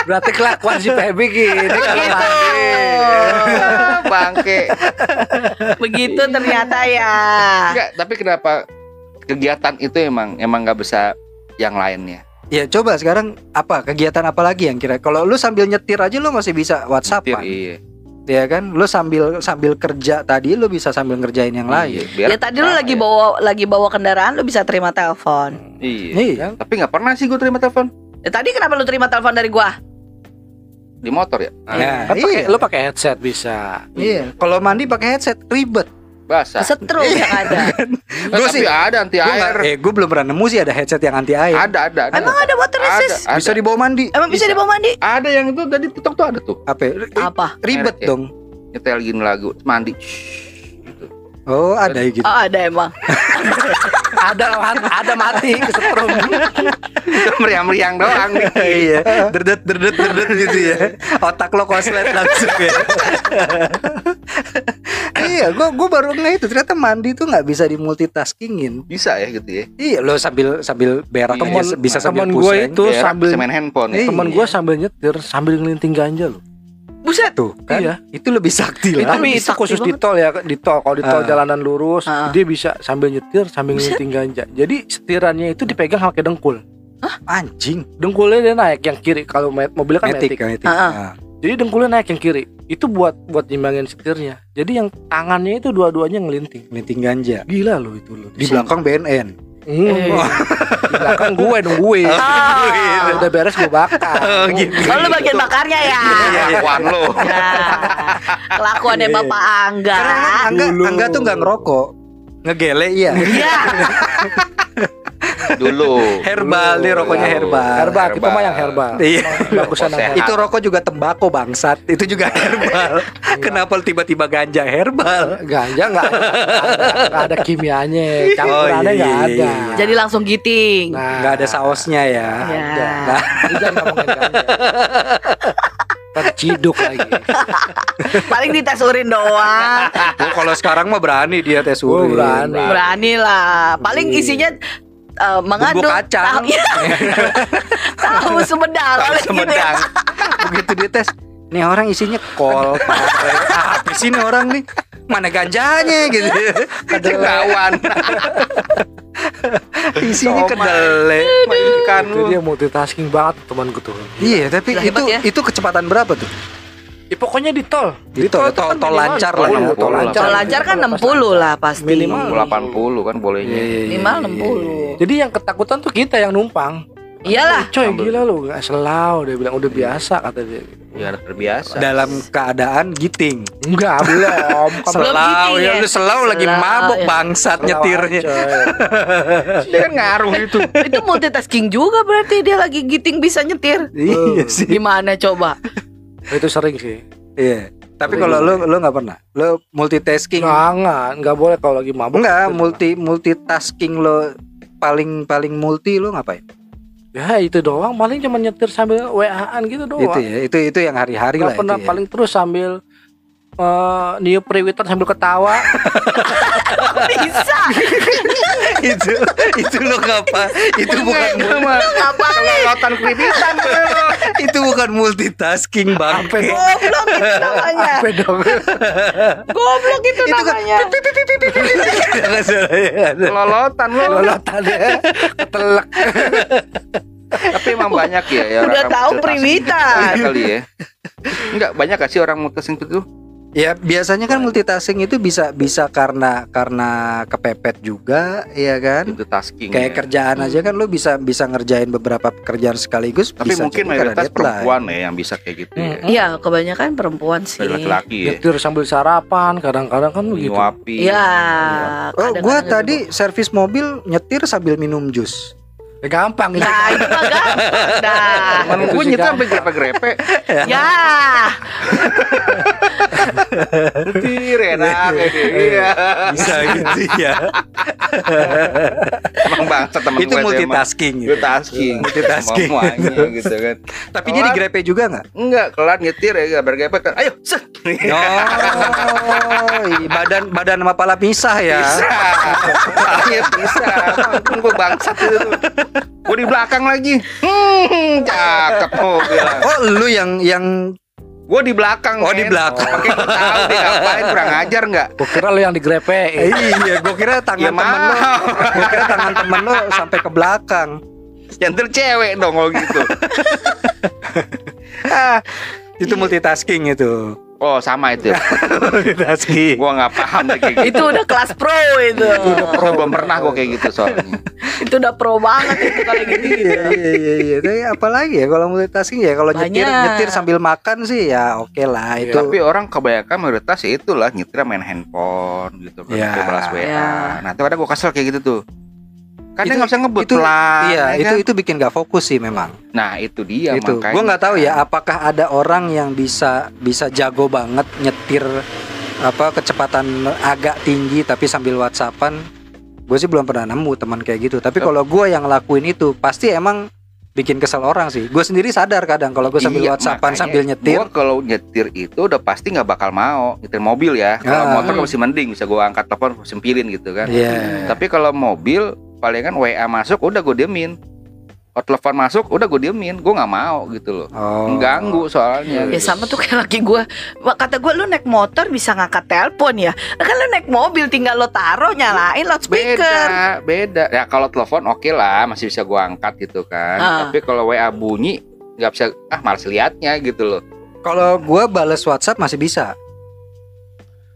[SPEAKER 3] Berarti kelakuan si Feby gini kalau
[SPEAKER 1] kan,
[SPEAKER 2] Begitu.
[SPEAKER 3] mandi.
[SPEAKER 1] (laughs)
[SPEAKER 4] bangke
[SPEAKER 2] Iya. Begitu ternyata ya.
[SPEAKER 4] enggak tapi kenapa kegiatan itu emang emang nggak bisa yang lainnya
[SPEAKER 1] ya coba sekarang apa kegiatan apa lagi yang kira kalau lu sambil nyetir aja lu masih bisa whatsapp
[SPEAKER 4] Tir, iya
[SPEAKER 1] ya kan lu sambil sambil kerja tadi lu bisa sambil ngerjain yang lain
[SPEAKER 4] Iya, biar
[SPEAKER 2] Ya tadi lu
[SPEAKER 4] pertama
[SPEAKER 2] lagi
[SPEAKER 4] ya.
[SPEAKER 2] bawa lagi bawa kendaraan lu bisa terima telepon.
[SPEAKER 4] Iya.
[SPEAKER 1] Iya.
[SPEAKER 4] Tapi nggak pernah sih gue terima telepon
[SPEAKER 2] Ya, tadi kenapa lu terima telepon dari gua?
[SPEAKER 4] di motor ya.
[SPEAKER 1] Nah,
[SPEAKER 3] Kan
[SPEAKER 1] iya.
[SPEAKER 3] pakai lu pakai headset bisa.
[SPEAKER 1] Iya, kalau mandi pakai headset ribet.
[SPEAKER 4] Basah.
[SPEAKER 2] Kesetrum yang ada.
[SPEAKER 4] Eh,
[SPEAKER 1] Gua
[SPEAKER 4] tapi
[SPEAKER 1] sih-
[SPEAKER 4] ada anti
[SPEAKER 1] Gua
[SPEAKER 4] air.
[SPEAKER 1] nggak- eh, gue belum pernah nemu sih ada headset yang anti air.
[SPEAKER 4] Ada, ada, ada.
[SPEAKER 2] Emang ada water
[SPEAKER 4] ada,
[SPEAKER 2] resist?
[SPEAKER 4] ada.
[SPEAKER 1] Bisa dibawa mandi.
[SPEAKER 2] Emang bisa
[SPEAKER 4] Bisa.
[SPEAKER 2] dibawa mandi?
[SPEAKER 4] Ada yang itu tadi TikTok tuh ada tuh.
[SPEAKER 1] Apa? ya? Ri-
[SPEAKER 2] Apa?
[SPEAKER 1] Ribet
[SPEAKER 4] Merek ya?
[SPEAKER 1] dong.
[SPEAKER 4] Nyetel gini lagu mandi. (laughs) Shhh, gitu.
[SPEAKER 1] Oh, ada ya
[SPEAKER 2] (laughs)
[SPEAKER 1] gitu.
[SPEAKER 2] Oh, ada emang.
[SPEAKER 3] Ada lawan- ada mati kesetrum.
[SPEAKER 4] Itu meriang-meriang doang nih.
[SPEAKER 1] (laughs) iya, derdet derdet derdet gitu ya. Otak lo koslet langsung ya. iya, gue gue baru nge itu ternyata mandi tuh nggak bisa di multitaskingin.
[SPEAKER 4] Bisa ya gitu ya.
[SPEAKER 1] Iya, lo sambil sambil berak
[SPEAKER 4] Iya.
[SPEAKER 1] aja bisa sambil
[SPEAKER 3] temen gue
[SPEAKER 1] pusing.
[SPEAKER 3] itu
[SPEAKER 4] Berak,
[SPEAKER 3] sambil
[SPEAKER 4] bisa Iya, main handphone ya.
[SPEAKER 1] Iya.
[SPEAKER 3] temen gue sambil nyetir sambil ngelinting ganja loh.
[SPEAKER 2] Buset.
[SPEAKER 1] tuh kan
[SPEAKER 3] Iya.
[SPEAKER 1] itu lebih sakti
[SPEAKER 3] Itu
[SPEAKER 1] lah.
[SPEAKER 2] lebih
[SPEAKER 3] itu
[SPEAKER 2] sakti
[SPEAKER 3] khusus di tol ya, di tol. Kalau di tol
[SPEAKER 1] Ah.
[SPEAKER 3] jalanan lurus,
[SPEAKER 2] Ah.
[SPEAKER 3] dia bisa sambil nyetir, sambil ngelinting ganja. Jadi setirannya itu dipegang pakai dengkul.
[SPEAKER 1] Anjing.
[SPEAKER 3] dengkulnya dia naik yang kiri kalau met- mobilnya kan
[SPEAKER 1] Metik,
[SPEAKER 3] metik.
[SPEAKER 1] metik.
[SPEAKER 2] Ah,
[SPEAKER 1] Ah.
[SPEAKER 3] Jadi dengkulnya naik yang kiri. Itu buat buat nyimbangin setirnya. Jadi yang tangannya itu dua-duanya ngelinting.
[SPEAKER 1] Meeting ganja.
[SPEAKER 3] Gila lu itu lu.
[SPEAKER 1] Di belakang BNN.
[SPEAKER 3] Hmm.
[SPEAKER 2] Eh.
[SPEAKER 3] Di
[SPEAKER 1] kan
[SPEAKER 3] belakang gue nungguin.
[SPEAKER 1] Oh, Ah. iya.
[SPEAKER 2] Ah.
[SPEAKER 3] Udah beres gue bakar.
[SPEAKER 2] Oh, lu bagian bakarnya ya.
[SPEAKER 4] Iya, Kelakuan lo.
[SPEAKER 2] Ya. Kelakuannya ya, Bapak Angga.
[SPEAKER 1] Karena kan Angga,
[SPEAKER 3] Dulu.
[SPEAKER 1] Angga tuh nggak ngerokok. Ngegele iya.
[SPEAKER 2] Iya.
[SPEAKER 4] Dulu.
[SPEAKER 1] Herbal, dia rokoknya
[SPEAKER 4] Dulu.
[SPEAKER 1] Iya. herbal.
[SPEAKER 3] Herbal, kita
[SPEAKER 4] Herbal.
[SPEAKER 3] mah yang herbal.
[SPEAKER 1] Iya.
[SPEAKER 3] Bagusan
[SPEAKER 4] Rokok
[SPEAKER 3] yang
[SPEAKER 4] sehat.
[SPEAKER 1] Itu rokok juga tembako bangsat. Itu juga (laughs) herbal. Kenapa tiba-tiba ganja herbal?
[SPEAKER 3] ganja nggak ada, nggak ada kimianya,
[SPEAKER 1] iya,
[SPEAKER 3] campurannya nggak
[SPEAKER 1] iya,
[SPEAKER 3] ada.
[SPEAKER 1] iya.
[SPEAKER 2] Jadi langsung giting.
[SPEAKER 3] Nah,
[SPEAKER 1] Nggak ada sausnya ya.
[SPEAKER 2] Ya.
[SPEAKER 3] ada. Lu jangan ngomongin ganja. Terciduk lagi.
[SPEAKER 2] Paling dites urin doang.
[SPEAKER 1] Gua kalau sekarang mah berani dia tes
[SPEAKER 3] Gua
[SPEAKER 1] urin.
[SPEAKER 3] berani.
[SPEAKER 2] Berani lah. Paling isinya eh, mengandung
[SPEAKER 1] Bumbu kacang.
[SPEAKER 2] tahu, iya. tahu sumedang paling gitu ya.
[SPEAKER 1] Semedang. Begitu dia tes, nih orang isinya kol. pare. Apa sih nih orang nih? Mana ganjanya gitu.
[SPEAKER 3] (laughs)
[SPEAKER 4] Cendawan.
[SPEAKER 1] Isinya
[SPEAKER 4] Somai.
[SPEAKER 1] kedele.
[SPEAKER 4] Mainkan
[SPEAKER 3] Itu
[SPEAKER 4] lu.
[SPEAKER 3] dia multitasking banget tuh teman gue tuh.
[SPEAKER 1] Iya, tapi
[SPEAKER 2] Gila,
[SPEAKER 1] itu
[SPEAKER 2] hebat ya.
[SPEAKER 1] itu kecepatan berapa tuh?
[SPEAKER 3] Ya, pokoknya di tol.
[SPEAKER 1] Di tol,
[SPEAKER 3] itu
[SPEAKER 1] tol-
[SPEAKER 3] kan
[SPEAKER 1] tol
[SPEAKER 3] minimal.
[SPEAKER 1] lancar lah
[SPEAKER 3] Tol-
[SPEAKER 1] ya.
[SPEAKER 3] Tol lancar.
[SPEAKER 2] Kalau lancar kan 60 lah pasti.
[SPEAKER 3] Minimal.
[SPEAKER 4] 80 kan
[SPEAKER 2] Iya,
[SPEAKER 4] bolehnya.
[SPEAKER 3] Iya,
[SPEAKER 2] Minimal 60.
[SPEAKER 3] Jadi yang ketakutan tuh kita yang numpang.
[SPEAKER 2] Iyalah.
[SPEAKER 3] Coy gila lu nggak selau dia bilang udah biasa kata dia.
[SPEAKER 4] Ya terbiasa.
[SPEAKER 1] Dalam keadaan giting.
[SPEAKER 3] Enggak belum.
[SPEAKER 1] (laughs)
[SPEAKER 3] Kan
[SPEAKER 2] Belum
[SPEAKER 1] Selau
[SPEAKER 2] giting
[SPEAKER 1] ya,
[SPEAKER 2] ya?
[SPEAKER 1] lu selau lagi
[SPEAKER 2] Selau,
[SPEAKER 1] mabok
[SPEAKER 2] ya.
[SPEAKER 1] bangsat
[SPEAKER 3] selau
[SPEAKER 1] nyetirnya.
[SPEAKER 3] aja.
[SPEAKER 4] Dia kan ngaruh
[SPEAKER 3] (laughs)
[SPEAKER 4] itu.
[SPEAKER 2] Itu multitasking juga berarti dia lagi giting bisa nyetir.
[SPEAKER 1] Iya sih.
[SPEAKER 2] Gimana coba?
[SPEAKER 3] Itu sering sih.
[SPEAKER 1] Iya. Tapi kalau lu lu nggak pernah. Lu multitasking.
[SPEAKER 3] Jangan, nggak boleh kalau lagi mabuk.
[SPEAKER 1] Enggak,
[SPEAKER 3] Itu
[SPEAKER 1] multi multitasking lo paling paling multi lo ngapain?
[SPEAKER 3] Ya itu doang, paling cuma nyetir sambil WA-an gitu doang.
[SPEAKER 1] Itu ya, itu itu yang hari-hari lah
[SPEAKER 3] Nggak pernah
[SPEAKER 1] itu ya.
[SPEAKER 3] paling terus sambil eh niup periwitan sambil
[SPEAKER 1] (laughs)
[SPEAKER 3] ketawa.
[SPEAKER 2] Bisa.
[SPEAKER 1] itu itu lo ngapa? Itu bukan mul-
[SPEAKER 4] gitu Kelolotan kripitan lu.
[SPEAKER 1] itu bukan multitasking bang.
[SPEAKER 2] Goblok itu namanya.
[SPEAKER 3] Apa dong?
[SPEAKER 2] Goblok itu
[SPEAKER 1] Itu kan
[SPEAKER 2] namanya.
[SPEAKER 1] Nggak salah ya.
[SPEAKER 4] Kelolotan lu.
[SPEAKER 3] Lolotan
[SPEAKER 4] eh.
[SPEAKER 3] ya. Ketelek.
[SPEAKER 4] Tapi emang banyak ya ya
[SPEAKER 2] Udah
[SPEAKER 4] orang
[SPEAKER 2] tahu
[SPEAKER 4] multitasking.
[SPEAKER 2] priwitan.
[SPEAKER 4] Banyak kali ya. Enggak banyak gak sih orang multitasking itu?
[SPEAKER 1] Ya biasanya kan multitasking itu bisa bisa karena karena kepepet juga, ya kan?
[SPEAKER 4] Multitasking.
[SPEAKER 1] Kayak
[SPEAKER 4] ya.
[SPEAKER 1] kerjaan aja kan lo bisa bisa ngerjain beberapa pekerjaan sekaligus.
[SPEAKER 4] Tapi
[SPEAKER 1] bisa
[SPEAKER 4] mungkin
[SPEAKER 1] juga karena
[SPEAKER 4] mayoritas
[SPEAKER 1] deadline.
[SPEAKER 4] perempuan ya yang bisa kayak gitu ya.
[SPEAKER 2] Iya, kebanyakan perempuan sih.
[SPEAKER 4] Dari
[SPEAKER 1] Iya,
[SPEAKER 4] laki-laki ya.
[SPEAKER 1] gitu.
[SPEAKER 3] Nyetir sambil sarapan, kadang-kadang kan begitu.
[SPEAKER 4] Nyuapi.
[SPEAKER 2] Iya.
[SPEAKER 1] Oh,
[SPEAKER 2] kadang-kadang
[SPEAKER 1] gua
[SPEAKER 2] gitu.
[SPEAKER 1] tadi servis mobil nyetir sambil minum
[SPEAKER 4] (laughs)
[SPEAKER 1] jus.
[SPEAKER 3] Ya, gampang itu.
[SPEAKER 1] (laughs)
[SPEAKER 2] Nah, itu mah gampang. Nah.
[SPEAKER 3] Itu
[SPEAKER 4] Temen gue
[SPEAKER 3] sih
[SPEAKER 4] nyetir Kan
[SPEAKER 3] gampang.
[SPEAKER 4] sampai grepe-grepe
[SPEAKER 2] Ya.
[SPEAKER 4] (laughs) Nyetir enak kayak gitu. Iya
[SPEAKER 1] Bisa gitu ya.
[SPEAKER 4] Emang bangsa temen
[SPEAKER 1] itu
[SPEAKER 4] gue tuh emang.
[SPEAKER 1] multitasking gitu.
[SPEAKER 4] Multitasking
[SPEAKER 1] Multitasking. (laughs)
[SPEAKER 4] Semuanya gitu kan
[SPEAKER 1] Tapi dia di grepe juga nggak?
[SPEAKER 4] Enggak kelar nyetir ya grepe-grepe kan Ayo set
[SPEAKER 1] Iya. Oh, i- badan badan sama pala pisah ya. (laughs)
[SPEAKER 4] Bisa Ayo bisa Ampun gue bangsat itu tuh. Gue di belakang lagi Hmm Cakep mau bilang
[SPEAKER 1] Oh, lu yang yang
[SPEAKER 4] Gue di belakang
[SPEAKER 1] Oh, di
[SPEAKER 4] men.
[SPEAKER 1] belakang.
[SPEAKER 4] Pakai gue tahu dia ngapain Kurang ajar gak
[SPEAKER 3] Gua kira lo yang digrepein.
[SPEAKER 1] iya, gua kira tangan
[SPEAKER 4] Ya
[SPEAKER 1] temen lu,
[SPEAKER 4] mau
[SPEAKER 1] gua kira tangan temen lu sampai ke belakang.
[SPEAKER 4] Nyentir cewek dong kalau gitu
[SPEAKER 1] (laughs) Ah, itu multitasking itu.
[SPEAKER 4] Oh sama itu
[SPEAKER 1] multitasking.
[SPEAKER 4] Gue gak paham
[SPEAKER 1] (laughs)
[SPEAKER 4] deh kayak gitu
[SPEAKER 2] Itu udah kelas pro itu.
[SPEAKER 4] Belum pernah gue kayak gitu soalnya
[SPEAKER 2] itu udah pro banget itu kalau gitu.
[SPEAKER 1] Iya, iya, iya, iya. Tapi apalagi ya kalau multitasking ya kalau nyetir
[SPEAKER 2] Banyak.
[SPEAKER 1] nyetir sambil makan sih ya oke lah itu.
[SPEAKER 4] Tapi orang kebanyakan mayoritas ya itulah nyetir main handphone gitu kan,
[SPEAKER 1] Ya.
[SPEAKER 4] yeah. balas WA.
[SPEAKER 2] Ya.
[SPEAKER 4] Nah, itu kadang gua kesel kayak gitu tuh. Kan dia
[SPEAKER 1] Itu-
[SPEAKER 4] nggak bisa ngebut
[SPEAKER 1] itu-
[SPEAKER 4] lah.
[SPEAKER 1] iya,
[SPEAKER 4] ya
[SPEAKER 1] itu
[SPEAKER 4] kan?
[SPEAKER 1] itu bikin gak fokus sih memang.
[SPEAKER 4] Nah, itu dia
[SPEAKER 1] itu
[SPEAKER 4] makanya. kan.
[SPEAKER 1] gue nggak tahu ya apakah ada orang yang bisa bisa jago banget nyetir apa kecepatan agak tinggi tapi sambil whatsappan gue sih belum pernah nemu teman kayak gitu tapi kalau gue yang lakuin itu pasti emang bikin kesel orang sih gue sendiri sadar kadang kalau gue sambil
[SPEAKER 4] Iya,
[SPEAKER 1] whatsappan
[SPEAKER 4] makanya
[SPEAKER 1] sambil nyetir
[SPEAKER 4] Gua kalau nyetir itu udah pasti nggak bakal mau nyetir mobil ya. Kalau
[SPEAKER 1] Ah.
[SPEAKER 4] motor kan masih mending bisa gua angkat telepon gua sempilin gitu kan.
[SPEAKER 1] Iya.
[SPEAKER 4] Tapi kalau mobil palingan WA masuk udah gue diemin. Oh, telepon masuk, udah gue diemin, gue nggak mau gitu loh.
[SPEAKER 1] Oh.
[SPEAKER 4] Mengganggu soalnya.
[SPEAKER 2] Ya
[SPEAKER 4] gitu.
[SPEAKER 2] sama tuh kayak laki gue Kata gue lu naik motor bisa ngangkat telepon ya Kan lu naik mobil tinggal lo taruh nyalain loudspeaker
[SPEAKER 4] Beda, beda. Ya kalau telepon oke lah, masih bisa gue angkat gitu kan.
[SPEAKER 2] Ah.
[SPEAKER 4] Tapi kalau WA bunyi nggak bisa, ah males liatnya gitu loh.
[SPEAKER 1] Kalau gua bales WhatsApp masih bisa.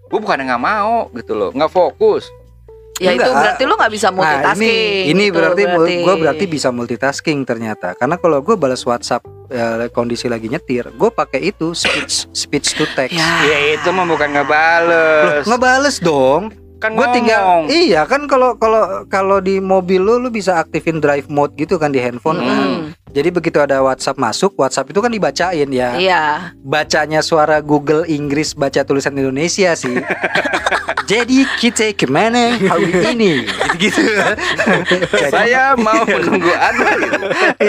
[SPEAKER 4] Gue bukan nggak mau gitu loh, nggak fokus.
[SPEAKER 2] Ya itu
[SPEAKER 1] Enggak.
[SPEAKER 2] berarti lu gak bisa
[SPEAKER 1] Nah,
[SPEAKER 2] multitasking
[SPEAKER 1] ini ini
[SPEAKER 2] gitu,
[SPEAKER 1] berarti, gua berarti bisa multitasking ternyata. Karena kalau gua bales WhatsApp eh, kondisi lagi nyetir, gua pakai itu speech speech to text.
[SPEAKER 2] Ya.
[SPEAKER 4] Ya itu mah bukan
[SPEAKER 1] Ah.
[SPEAKER 4] nggak
[SPEAKER 1] Loh,
[SPEAKER 4] bales.
[SPEAKER 1] ngebales dong.
[SPEAKER 4] kan
[SPEAKER 1] Gue
[SPEAKER 4] ngomong.
[SPEAKER 1] tinggal iya kan kalau kalau kalau di mobil lu lu bisa aktifin drive mode gitu kan di handphone
[SPEAKER 2] Mm-mm.
[SPEAKER 1] kan. Jadi begitu ada WhatsApp masuk, WhatsApp itu kan dibacain ya.
[SPEAKER 2] Iya
[SPEAKER 1] Bacanya suara Google Inggris baca tulisan Indonesia
[SPEAKER 2] (laughs)
[SPEAKER 1] sih. Jadi kita kemana hari ini? (laughs) Gitu. (laughs)
[SPEAKER 4] Saya mau menunggu Anda gitu.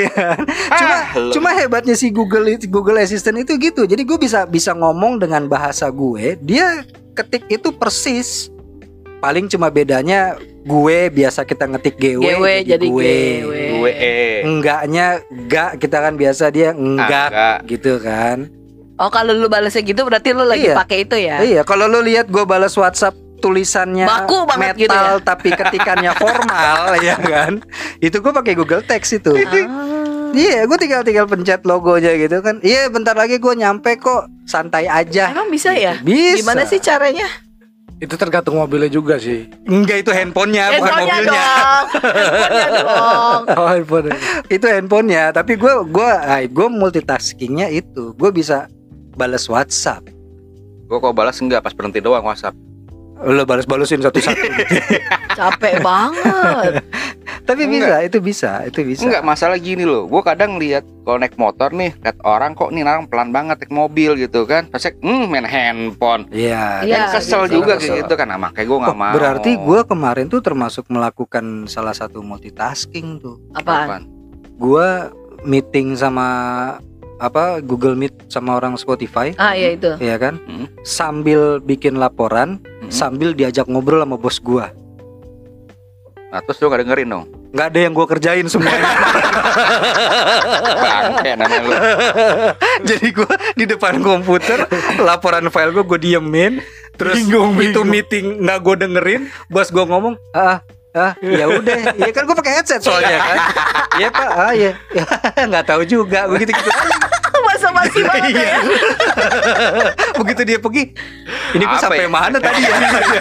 [SPEAKER 1] iya. cuma
[SPEAKER 4] Ah, lo.
[SPEAKER 1] cuma hebatnya si Google Google Assistant itu gitu. Jadi gue bisa bisa ngomong dengan bahasa gue, dia ketik itu persis. Paling cuma bedanya gue biasa kita ngetik GW,
[SPEAKER 2] GW jadi GW.
[SPEAKER 4] gue eh
[SPEAKER 1] Enggaknya enggak kita kan biasa dia enggak
[SPEAKER 4] Ah, enggak.
[SPEAKER 1] gitu kan.
[SPEAKER 2] Oh kalau lu balesnya gitu berarti lu lagi
[SPEAKER 1] Iya.
[SPEAKER 2] pakai itu ya
[SPEAKER 1] Iya, kalau lu lihat gue balas WhatsApp tulisannya
[SPEAKER 2] Baku
[SPEAKER 1] metal
[SPEAKER 2] banget gitu ya?
[SPEAKER 1] (laughs) tapi ketikannya formal (laughs) ya kan. Itu gue pakai Google Text itu.
[SPEAKER 2] Ah.
[SPEAKER 1] Iya, gue tinggal tinggal pencet logonya gitu kan. Iya, bentar lagi gue nyampe kok. Santai aja.
[SPEAKER 2] Emang bisa ya?
[SPEAKER 1] Bisa.
[SPEAKER 2] Gimana sih caranya?
[SPEAKER 3] Itu tergantung mobilnya juga sih.
[SPEAKER 1] Enggak itu handphonenya, Ya, bukan
[SPEAKER 2] Handphonenya
[SPEAKER 1] mobilnya. (laughs)
[SPEAKER 2] dong Handphonenya dong
[SPEAKER 3] Oh, handphone.
[SPEAKER 1] Itu handphonenya. Tapi gue gue gue multitaskingnya itu. Gue bisa balas WhatsApp.
[SPEAKER 4] Gue kok balas enggak pas berhenti doang WhatsApp.
[SPEAKER 1] Lo balas-balasin satu-satu.
[SPEAKER 2] (laughs)
[SPEAKER 1] gitu.
[SPEAKER 2] Capek banget
[SPEAKER 1] Tapi bisa, itu bisa, itu bisa.
[SPEAKER 4] Enggak masalah gini loh. Gue kadang lihat kalau naik motor nih, lihat orang kok nih orang pelan banget naik mobil gitu kan. Pasti hmm main handphone.
[SPEAKER 1] Iya.
[SPEAKER 2] Iya.
[SPEAKER 4] Kan kesel
[SPEAKER 1] bisa,
[SPEAKER 4] juga
[SPEAKER 1] kesel.
[SPEAKER 4] kayak gitu kan. Nah, makanya gue nggak
[SPEAKER 1] Oh,
[SPEAKER 4] mau.
[SPEAKER 1] berarti gue kemarin tuh termasuk melakukan salah satu multitasking tuh.
[SPEAKER 2] Apaan?
[SPEAKER 1] Gue meeting sama apa Google Meet sama orang Spotify.
[SPEAKER 2] Ah ya itu
[SPEAKER 1] Iya kan?
[SPEAKER 4] Hmm.
[SPEAKER 1] Sambil bikin laporan,
[SPEAKER 4] Hmm.
[SPEAKER 1] sambil diajak ngobrol sama bos gua.
[SPEAKER 4] Nah, terus lu gak dengerin dong.
[SPEAKER 1] nggak ada yang gua kerjain semuanya.
[SPEAKER 4] Bangke namanya lu.
[SPEAKER 1] (laughs) Jadi gua di depan komputer, laporan file gua gua diemin, terus itu meeting nggak gua dengerin, bos gua ngomong, "Ah, ah, ah, ya (laughs) udah." Ya kan gua pakai headset soalnya kan. (laughs) Iya, Pak. Ah, iya. (laughs) Ya, nggak tahu juga begitu gitu.
[SPEAKER 2] Masa
[SPEAKER 1] (laughs)
[SPEAKER 2] masih banget ya
[SPEAKER 1] begitu dia pergi. Ini gua
[SPEAKER 4] Apa
[SPEAKER 1] sampai
[SPEAKER 4] ya?
[SPEAKER 1] mana tadi ya? (laughs)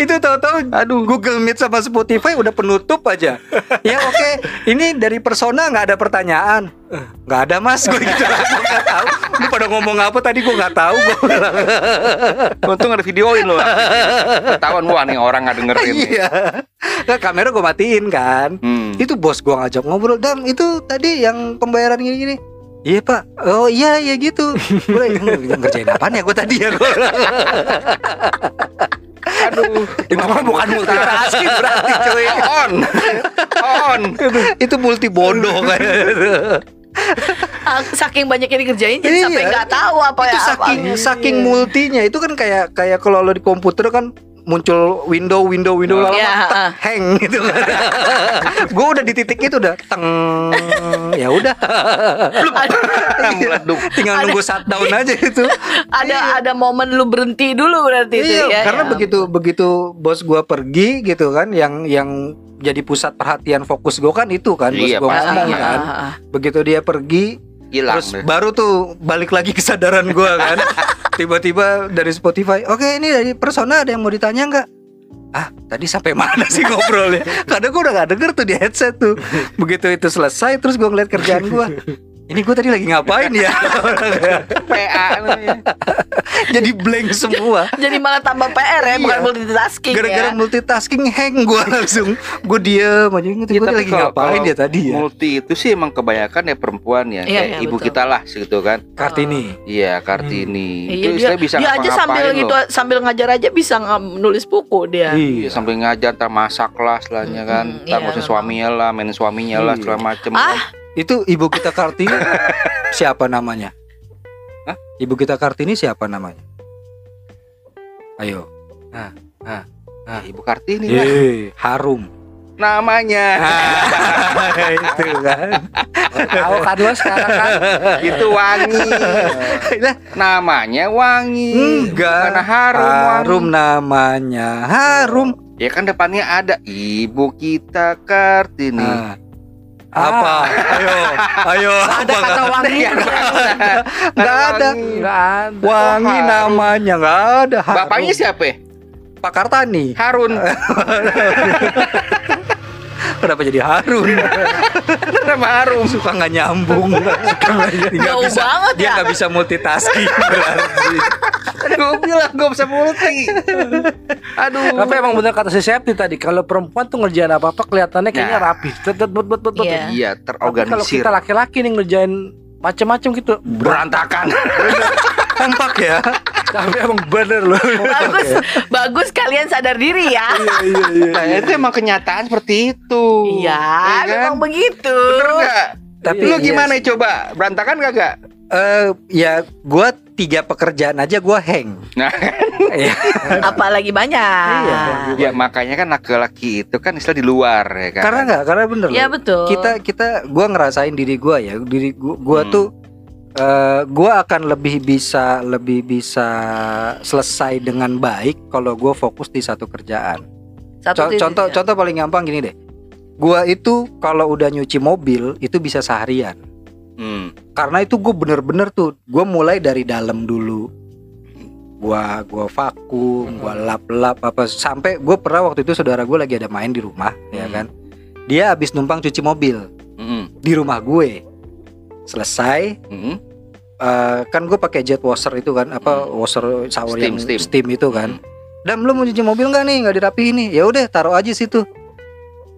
[SPEAKER 1] itu tahu-tahu aduh Google Meet sama Spotify udah penutup aja ya oke ini dari persona nggak ada pertanyaan Eh, nggak ada mas gue gitu (laughs) langsung nggak tahu lu pada ngomong apa tadi gue nggak tahu gue bilang,
[SPEAKER 4] Untung ada videoin lu. Ketahuan wah nih orang gak dengerin. nih.
[SPEAKER 1] (laughs) iya nah, kamera gue matiin kan
[SPEAKER 4] Hmm.
[SPEAKER 1] itu bos gue ngajak ngobrol dam itu tadi yang pembayaran gini-gini Iya pak, oh iya iya gitu. Gue ngerjain apaan ya gue tadi ya gue.
[SPEAKER 4] Aduh,
[SPEAKER 1] Itu mah bukan multitasking (laughs) berarti cuy.
[SPEAKER 4] on. On. (laughs)
[SPEAKER 1] Itu multi bodoh kan.
[SPEAKER 2] Ah, Saking banyak yang dikerjain Jadi
[SPEAKER 1] Iya.
[SPEAKER 2] sampai nggak tahu apa ya
[SPEAKER 1] itu
[SPEAKER 2] apa.
[SPEAKER 1] saking saking multinya itu kan kayak kayak kalau lo di komputer kan muncul window window window lama
[SPEAKER 2] Iya,
[SPEAKER 1] tek,
[SPEAKER 2] heeh.
[SPEAKER 1] hang gitu
[SPEAKER 2] (laughs)
[SPEAKER 1] kan. gue udah di titik itu udah teng ya udah
[SPEAKER 2] Aduh,
[SPEAKER 4] Meleduk.
[SPEAKER 1] tinggal nunggu shutdown aja itu.
[SPEAKER 2] Ada ada momen lu berhenti dulu berarti (laughs) itu
[SPEAKER 1] Iya,
[SPEAKER 2] ya
[SPEAKER 1] karena
[SPEAKER 2] ya.
[SPEAKER 1] begitu begitu bos gua pergi gitu kan yang yang jadi pusat perhatian fokus gua kan itu kan bos
[SPEAKER 4] Iya,
[SPEAKER 1] gua
[SPEAKER 2] Ah,
[SPEAKER 1] ngomong
[SPEAKER 2] ah,
[SPEAKER 1] kan.
[SPEAKER 2] ah, ah.
[SPEAKER 1] Begitu dia pergi
[SPEAKER 4] Hilang.
[SPEAKER 1] Terus
[SPEAKER 4] deh.
[SPEAKER 1] baru tuh balik lagi kesadaran gua
[SPEAKER 4] (laughs)
[SPEAKER 1] kan. Tiba-tiba dari Spotify, oke ini dari persona ada yang mau ditanya nggak? Ah, tadi sampai mana sih
[SPEAKER 4] (laughs)
[SPEAKER 1] ngobrolnya? Karena gua udah gak denger tuh di headset tuh. Begitu itu selesai, terus gua ngeliat kerjaan gua. Ini gua tadi lagi ngapain ya? (laughs)
[SPEAKER 4] PA namanya.
[SPEAKER 1] Jadi blank semua.
[SPEAKER 4] (laughs)
[SPEAKER 2] Jadi malah tambah PR ya bukan
[SPEAKER 1] Iya.
[SPEAKER 2] multitasking
[SPEAKER 1] Gara-gara
[SPEAKER 2] ya.
[SPEAKER 1] multitasking hang gua langsung. Gua diem aja gitu.
[SPEAKER 4] Ya,
[SPEAKER 1] Gua
[SPEAKER 4] tapi
[SPEAKER 1] lagi
[SPEAKER 4] kalau-
[SPEAKER 1] ngapain
[SPEAKER 4] kalau
[SPEAKER 1] ya tadi ya?
[SPEAKER 4] Multi itu sih emang kebanyakan ya perempuan ya,
[SPEAKER 2] Iya,
[SPEAKER 4] Kayak
[SPEAKER 2] iya,
[SPEAKER 4] ibu
[SPEAKER 2] betul.
[SPEAKER 4] kita lah gitu kan.
[SPEAKER 1] Kartini.
[SPEAKER 4] Iya, Kartini.
[SPEAKER 2] Iya
[SPEAKER 4] itu
[SPEAKER 2] dia,
[SPEAKER 4] istilah bisa
[SPEAKER 2] dia aja
[SPEAKER 4] ngapa-ngapain
[SPEAKER 2] sambil
[SPEAKER 4] loh.
[SPEAKER 2] gitu sambil ngajar aja bisa nge- nulis buku dia.
[SPEAKER 4] Iya,
[SPEAKER 1] Iya.
[SPEAKER 4] sambil ngajar ntar masak lah setelahnya kan.
[SPEAKER 2] Mm-mm,
[SPEAKER 4] Ntar
[SPEAKER 2] iya,
[SPEAKER 4] ngurusin
[SPEAKER 2] memang.
[SPEAKER 4] suaminya lah, mainin suaminya lah
[SPEAKER 1] Iya.
[SPEAKER 4] segala macem.
[SPEAKER 2] Ah.
[SPEAKER 1] Itu ibu kita Kartini siapa namanya?
[SPEAKER 4] Hah?
[SPEAKER 1] Ibu kita Kartini siapa namanya? Ayo.
[SPEAKER 4] Nah, Ibu Kartini lah. Iya.
[SPEAKER 1] Iya. Yeay, Eh, Harum.
[SPEAKER 4] namanya
[SPEAKER 1] itu kan.
[SPEAKER 3] Tahu kan lo sekarang kan
[SPEAKER 4] itu wangi namanya wangi
[SPEAKER 1] Enggak.
[SPEAKER 4] karena harum
[SPEAKER 1] Harum
[SPEAKER 4] wangi.
[SPEAKER 1] namanya. Harum.
[SPEAKER 4] ya kan depannya ada ibu kita (laughs) kartini
[SPEAKER 1] Nah. Apa? Ayo, ayo.
[SPEAKER 3] ada
[SPEAKER 2] kan?
[SPEAKER 1] apa?
[SPEAKER 3] kata wangi.
[SPEAKER 1] Nggak ada.
[SPEAKER 4] Kan Wangi.
[SPEAKER 3] Enggak ada.
[SPEAKER 1] Wangi
[SPEAKER 4] harum.
[SPEAKER 1] namanya nggak ada. Harum.
[SPEAKER 4] bapaknya siapa ya?
[SPEAKER 1] Pak Kartani.
[SPEAKER 4] Harun
[SPEAKER 1] (laughs) Kenapa jadi Harun?
[SPEAKER 4] nama Harum
[SPEAKER 1] Suka nggak nyambung. Suka nggak- nggak
[SPEAKER 2] Jauh
[SPEAKER 1] bisa.
[SPEAKER 2] banget
[SPEAKER 1] Dia
[SPEAKER 2] ya.
[SPEAKER 1] nggak bisa multitasking. berarti.
[SPEAKER 4] gue bilang gue bisa multi aduh
[SPEAKER 3] Tapi emang bener kata si Septi tadi kalau perempuan tuh ngerjain apa-apa kelihatannya kayaknya
[SPEAKER 4] Nah.
[SPEAKER 3] rapi. Tet tet bet bet bet bet.
[SPEAKER 2] Iya.
[SPEAKER 4] iya
[SPEAKER 3] Tapi kalau
[SPEAKER 4] terorganisir
[SPEAKER 3] kita laki-laki nih ngerjain macam-macam gitu. (laughs)
[SPEAKER 4] berantakan
[SPEAKER 1] Kompak ya.
[SPEAKER 3] Tapi emang bener loh.
[SPEAKER 2] Bagus, bagus kalian sadar diri ya.
[SPEAKER 3] iya iya.
[SPEAKER 4] nah, itu emang kenyataan seperti itu
[SPEAKER 2] Iya,
[SPEAKER 4] kan?
[SPEAKER 2] memang begitu.
[SPEAKER 4] Bener nggak?
[SPEAKER 1] Tapi
[SPEAKER 4] lu
[SPEAKER 1] iya
[SPEAKER 4] gimana coba berantakan kagak
[SPEAKER 1] Eh ya gua tiga pekerjaan aja gua hang.
[SPEAKER 4] Nah.
[SPEAKER 1] Iya.
[SPEAKER 2] Apalagi
[SPEAKER 1] Iya,
[SPEAKER 2] banyak.
[SPEAKER 4] ya makanya kan laki-laki itu kan istilah di luar ya kan
[SPEAKER 1] karena nggak karena bener
[SPEAKER 2] Iya
[SPEAKER 1] loh.
[SPEAKER 2] betul.
[SPEAKER 1] Kita kita gua ngerasain diri gua ya, diri gua, gua
[SPEAKER 4] Hmm.
[SPEAKER 1] tuh eh gua akan lebih bisa lebih bisa selesai dengan baik kalau gua fokus di satu kerjaan. Co-
[SPEAKER 2] Satu titik
[SPEAKER 1] contoh
[SPEAKER 2] ya.
[SPEAKER 1] contoh paling gampang gini deh. Gua itu kalau udah nyuci mobil itu bisa seharian.
[SPEAKER 4] Hmm.
[SPEAKER 1] karena itu gue bener-bener tuh gue mulai dari dalam dulu gua gua vakum gua lap-lap apa sampai gue pernah waktu itu saudara gue lagi ada main di rumah ya
[SPEAKER 4] Hmm.
[SPEAKER 1] kan dia habis numpang cuci mobil
[SPEAKER 4] Hmm.
[SPEAKER 1] di rumah gue selesai
[SPEAKER 4] Hmm.
[SPEAKER 1] eh, kan gue pakai jet washer itu kan apa
[SPEAKER 4] Hmm.
[SPEAKER 1] washer shower yang
[SPEAKER 4] Steam, steam. Hmm.
[SPEAKER 1] steam. itu kan dan lu mau cuci mobil nggak nih nggak dirapihin nih ya udah taruh aja situ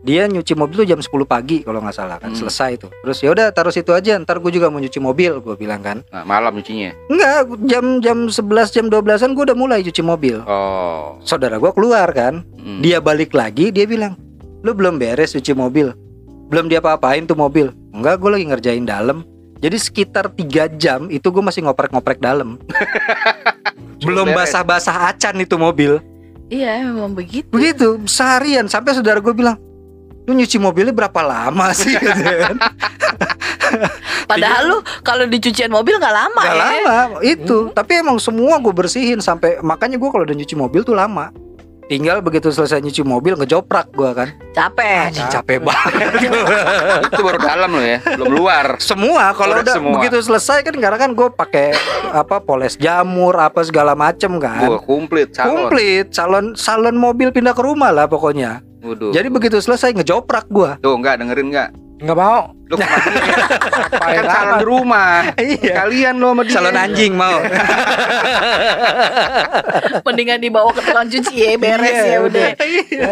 [SPEAKER 1] dia nyuci mobil tuh jam 10 pagi kalau nggak salah kan
[SPEAKER 4] Hmm.
[SPEAKER 1] selesai tuh terus ya udah taruh situ aja ntar gue juga mau nyuci mobil gue bilang kan
[SPEAKER 4] Nah, malam nyucinya
[SPEAKER 1] Enggak, jam jam 11 jam 12-an gue udah mulai cuci mobil.
[SPEAKER 4] oh
[SPEAKER 1] Saudara gue keluar kan.
[SPEAKER 4] Hmm.
[SPEAKER 1] Dia balik lagi, dia bilang, "Lu belum beres cuci mobil." Belum dia apa-apain tuh mobil. Enggak, gue lagi ngerjain dalam. Jadi sekitar 3 jam itu gue masih ngoprek-ngoprek dalam. (laughs) belum
[SPEAKER 4] beres.
[SPEAKER 1] basah-basah acan itu mobil.
[SPEAKER 2] Iya, memang begitu.
[SPEAKER 1] Begitu, seharian sampai saudara gue bilang, "Lu nyuci mobilnya berapa lama (laughs) sih?" Gitu kan.
[SPEAKER 2] Padahal lu kalau dicucian mobil nggak lama
[SPEAKER 1] Nggak
[SPEAKER 2] ya.
[SPEAKER 1] lama itu. Tapi emang semua gue bersihin sampai makanya gue kalau udah nyuci mobil tuh lama. Tinggal begitu selesai nyuci mobil ngejoprak gue kan.
[SPEAKER 2] Capek.
[SPEAKER 1] Anjing capek banget.
[SPEAKER 4] itu baru dalam loh ya belum luar
[SPEAKER 1] semua kalau
[SPEAKER 4] Ngorek
[SPEAKER 1] udah
[SPEAKER 4] semua.
[SPEAKER 1] begitu selesai kan karena kan gue pakai apa poles jamur apa segala macem kan.
[SPEAKER 4] Wah, komplit calon
[SPEAKER 1] Komplit salon salon mobil pindah ke rumah lah pokoknya.
[SPEAKER 4] Waduh.
[SPEAKER 1] Jadi begitu selesai ngejoprak gue.
[SPEAKER 4] tuh enggak dengerin enggak
[SPEAKER 3] Enggak mau.
[SPEAKER 4] lu kemarin kan
[SPEAKER 3] Pakai
[SPEAKER 4] calon di rumah
[SPEAKER 1] (laughs) Iya.
[SPEAKER 4] kalian lo sama dia
[SPEAKER 1] Salon anjing mau.
[SPEAKER 2] Mendingan dibawa ke tukang cuci ya, beres
[SPEAKER 1] Iya,
[SPEAKER 2] ya udah.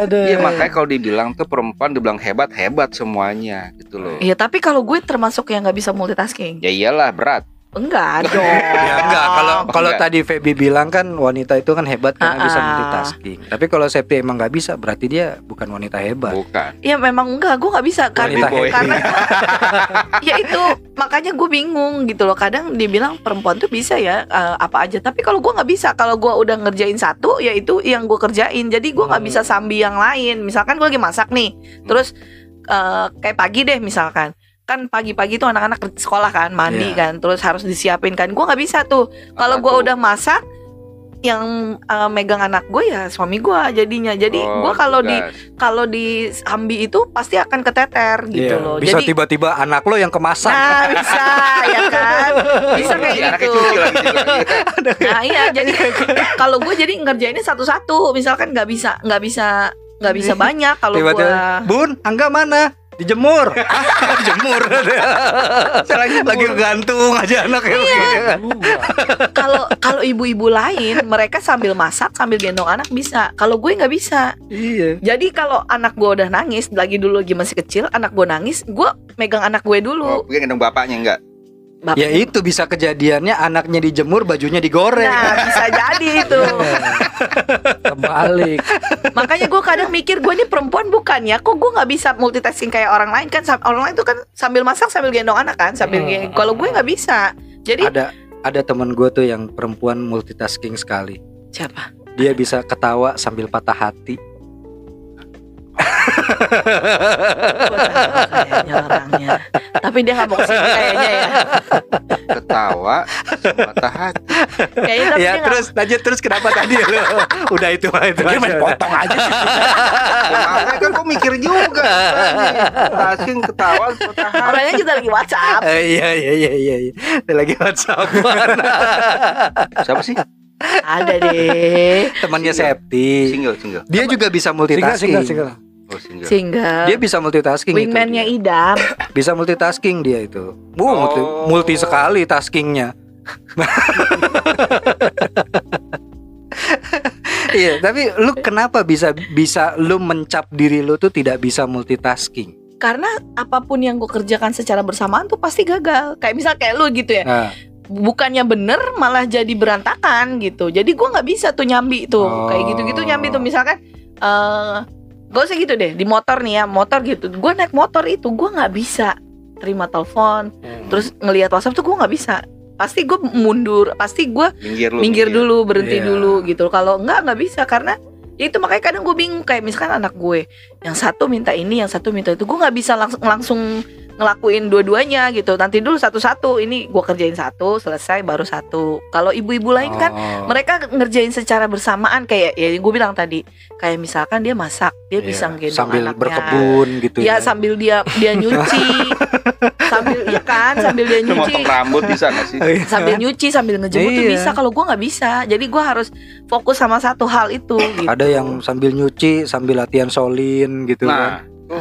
[SPEAKER 3] Aduh.
[SPEAKER 4] Iya makanya kalau dibilang tuh perempuan dibilang hebat hebat semuanya gitu loh.
[SPEAKER 2] Iya, tapi kalau gue termasuk yang nggak bisa multitasking.
[SPEAKER 4] Ya iyalah berat.
[SPEAKER 2] Enggak dong.
[SPEAKER 1] (laughs) Ya enggak kalau kalau
[SPEAKER 4] Enggak.
[SPEAKER 1] tadi Feby bilang kan wanita itu kan hebat karena bisa
[SPEAKER 2] Ah-ah.
[SPEAKER 1] multitasking. Tapi kalau Septi emang nggak bisa berarti dia bukan wanita hebat.
[SPEAKER 4] Bukan.
[SPEAKER 2] Ya memang enggak, gue nggak bisa karena
[SPEAKER 1] Wanita
[SPEAKER 4] boy.
[SPEAKER 2] karena ya itu makanya gue bingung gitu loh. Kadang dibilang perempuan tuh bisa ya eh, apa aja, tapi kalau gue nggak bisa, kalau gue udah ngerjain satu, ya itu yang gue kerjain. Jadi gue nggak bisa sambil yang lain. Misalkan gue lagi masak nih, terus eh, kayak pagi deh misalkan kan pagi-pagi tuh anak-anak ke sekolah kan
[SPEAKER 1] Iya.
[SPEAKER 2] mandi kan terus harus disiapin kan gue nggak bisa tuh kalau
[SPEAKER 4] Apa
[SPEAKER 2] gue
[SPEAKER 4] tuh?
[SPEAKER 2] udah masak yang eh, megang anak gue ya suami gue jadinya jadi
[SPEAKER 4] Oh,
[SPEAKER 2] gue kalau di
[SPEAKER 4] tugas.
[SPEAKER 2] kalau di ambi itu pasti akan keteter gitu
[SPEAKER 1] Iya.
[SPEAKER 2] loh.
[SPEAKER 1] Bisa
[SPEAKER 2] Jadi
[SPEAKER 1] tiba-tiba anak lo yang kemasan.
[SPEAKER 2] Nah bisa ya kan Bisa kayak
[SPEAKER 4] Iya, anaknya
[SPEAKER 2] gitu
[SPEAKER 4] cuci lagi juga. Iya.
[SPEAKER 2] Nah iya jadi Kalau gue jadi ngerjainnya satu-satu Misalkan nggak bisa nggak bisa nggak bisa banyak Kalau gue
[SPEAKER 1] Tiba-tiba, Bun, Angga mana? Dijemur.
[SPEAKER 2] (laughs)
[SPEAKER 1] Ah, Dijemur. lagi (laughs) lagi gantung aja ya, anaknya.
[SPEAKER 2] Iya. Kalau kalau ibu-ibu lain Mereka sambil masak Sambil gendong anak bisa Kalau gue nggak bisa
[SPEAKER 1] Iya.
[SPEAKER 2] Jadi kalau anak gue udah nangis Lagi dulu lagi masih kecil Anak gue nangis Gue megang anak gue
[SPEAKER 4] Oh,
[SPEAKER 2] dulu
[SPEAKER 4] mungkin gendong bapaknya enggak.
[SPEAKER 2] Bapak-
[SPEAKER 1] Ya itu bisa kejadiannya anaknya dijemur, bajunya digoreng.
[SPEAKER 2] Nah bisa jadi itu
[SPEAKER 1] (laughs)
[SPEAKER 3] Kebalik.
[SPEAKER 2] Makanya gue kadang mikir gue ini perempuan bukan ya Kok gue gak bisa multitasking kayak orang lain kan Sam- Orang lain tuh kan sambil masak sambil gendong anak kan sambil
[SPEAKER 3] Hmm.
[SPEAKER 2] gendong. Kalau gue gak bisa Jadi
[SPEAKER 1] Ada ada temen gue tuh yang perempuan multitasking sekali.
[SPEAKER 2] Siapa?
[SPEAKER 1] Dia bisa ketawa sambil patah hati.
[SPEAKER 2] kayaknya orangnya. Tapi dia nggak mau kesini kayaknya ya.
[SPEAKER 4] ketawa mata (laughs) hati
[SPEAKER 2] Kayaknya
[SPEAKER 1] ya
[SPEAKER 2] tapi dia nggak-
[SPEAKER 1] terus lanjut terus kenapa
[SPEAKER 2] (laughs)
[SPEAKER 1] tadi lu udah itu itu
[SPEAKER 3] Dia main
[SPEAKER 1] aja.
[SPEAKER 3] potong aja sih.
[SPEAKER 4] makanya kan kok mikir juga asing ketawa mata hati
[SPEAKER 2] Makanya kita lagi WhatsApp.
[SPEAKER 1] (laughs) Eh, iya iya iya iya iya. Dia lagi WhatsApp
[SPEAKER 2] (laughs)
[SPEAKER 4] siapa sih
[SPEAKER 2] Ada deh.
[SPEAKER 1] temannya
[SPEAKER 4] Single.
[SPEAKER 1] Septi
[SPEAKER 4] single single
[SPEAKER 1] dia juga bisa
[SPEAKER 3] Single, single,
[SPEAKER 1] multitasking
[SPEAKER 3] single.
[SPEAKER 4] oh
[SPEAKER 2] Iya.
[SPEAKER 4] single
[SPEAKER 1] dia
[SPEAKER 2] Single.
[SPEAKER 1] bisa
[SPEAKER 2] gitu.
[SPEAKER 1] multitasking itu
[SPEAKER 2] Wingman-nya
[SPEAKER 1] dia.
[SPEAKER 2] Idam.
[SPEAKER 1] bisa multitasking dia itu Bu, multi,
[SPEAKER 4] Oh.
[SPEAKER 1] multi sekali taskingnya (laughs) iya tapi lu kenapa bisa bisa lu mencap diri lu tuh tidak bisa multitasking
[SPEAKER 2] Karena apapun yang gue kerjakan secara bersamaan tuh pasti gagal. Kayak misal kayak lu gitu ya.
[SPEAKER 1] nah,
[SPEAKER 2] bukannya bener malah jadi berantakan gitu jadi gua nggak bisa tuh nyambi tuh
[SPEAKER 1] Oh.
[SPEAKER 2] kayak gitu-gitu nyambi tuh misalkan eh gak usah gitu deh di motor nih ya motor gitu gua naik motor itu gua nggak bisa terima telepon
[SPEAKER 3] Hmm.
[SPEAKER 2] terus ngelihat WhatsApp tuh gua nggak bisa pasti gue mundur pasti gua
[SPEAKER 4] minggir lu
[SPEAKER 2] minggir dulu berhenti
[SPEAKER 1] Iya.
[SPEAKER 2] dulu gitu kalau nggak nggak bisa karena ya itu makanya kadang gue bingung kayak misalkan anak gue yang satu minta ini yang satu minta itu gue nggak bisa langsung langsung ngelakuin dua-duanya gitu nanti dulu satu-satu ini gue kerjain satu selesai baru satu kalau ibu-ibu lain kan
[SPEAKER 1] Oh.
[SPEAKER 2] mereka ngerjain secara bersamaan kayak ya gue bilang tadi kayak misalkan dia masak dia
[SPEAKER 1] Iya,
[SPEAKER 2] bisa gendong
[SPEAKER 1] sambil
[SPEAKER 2] anaknya
[SPEAKER 1] berkebun gitu
[SPEAKER 2] ya
[SPEAKER 1] (laughs)
[SPEAKER 2] sambil dia dia nyuci sambil ya kan sambil dia
[SPEAKER 4] Lu
[SPEAKER 2] nyuci
[SPEAKER 4] motong rambut bisa gak sih
[SPEAKER 2] sambil nyuci sambil ngejemur tuh
[SPEAKER 1] Iya.
[SPEAKER 2] bisa kalau gua nggak bisa jadi gua harus fokus sama satu hal itu gitu.
[SPEAKER 1] ada yang sambil nyuci sambil latihan solin gitu kan
[SPEAKER 4] nah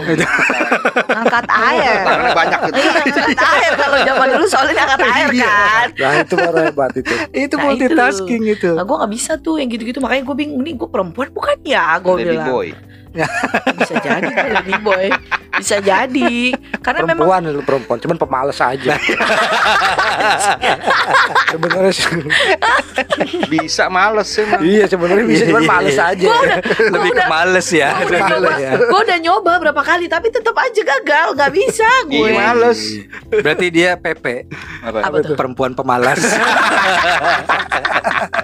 [SPEAKER 2] angkat air
[SPEAKER 4] tangannya banyak gitu
[SPEAKER 2] Iya, angkat air kalau zaman dulu soalnya angkat air kan
[SPEAKER 3] Nah itu baru hebat itu.
[SPEAKER 1] itu
[SPEAKER 2] Nah, itu.
[SPEAKER 1] multitasking itu
[SPEAKER 2] nah, gue nggak bisa tuh yang gitu-gitu makanya gue bingung nih gue perempuan bukan ya gue
[SPEAKER 4] Baby
[SPEAKER 2] bilang
[SPEAKER 4] boy
[SPEAKER 2] bisa jadi gue lady boy bisa jadi karena kan memang
[SPEAKER 3] Perempuan lu perempuan, cuman pemalas aja. (laughs) sebenarnya sih- (laughs)
[SPEAKER 4] bisa males emang
[SPEAKER 3] iya sebenarnya bisa cuman
[SPEAKER 1] Iya, iya,
[SPEAKER 3] males
[SPEAKER 1] iya.
[SPEAKER 3] aja.
[SPEAKER 2] gue udah
[SPEAKER 1] lebih ke
[SPEAKER 2] udah-
[SPEAKER 1] males ya
[SPEAKER 2] gue udah
[SPEAKER 1] Lebih
[SPEAKER 2] nyoba
[SPEAKER 1] males ya.
[SPEAKER 2] gue udah nyoba berapa kali tapi tetap aja gagal nggak bisa gue
[SPEAKER 4] Iya, males
[SPEAKER 1] berarti dia PP
[SPEAKER 4] apa
[SPEAKER 2] Apa tuh?
[SPEAKER 1] perempuan pemalas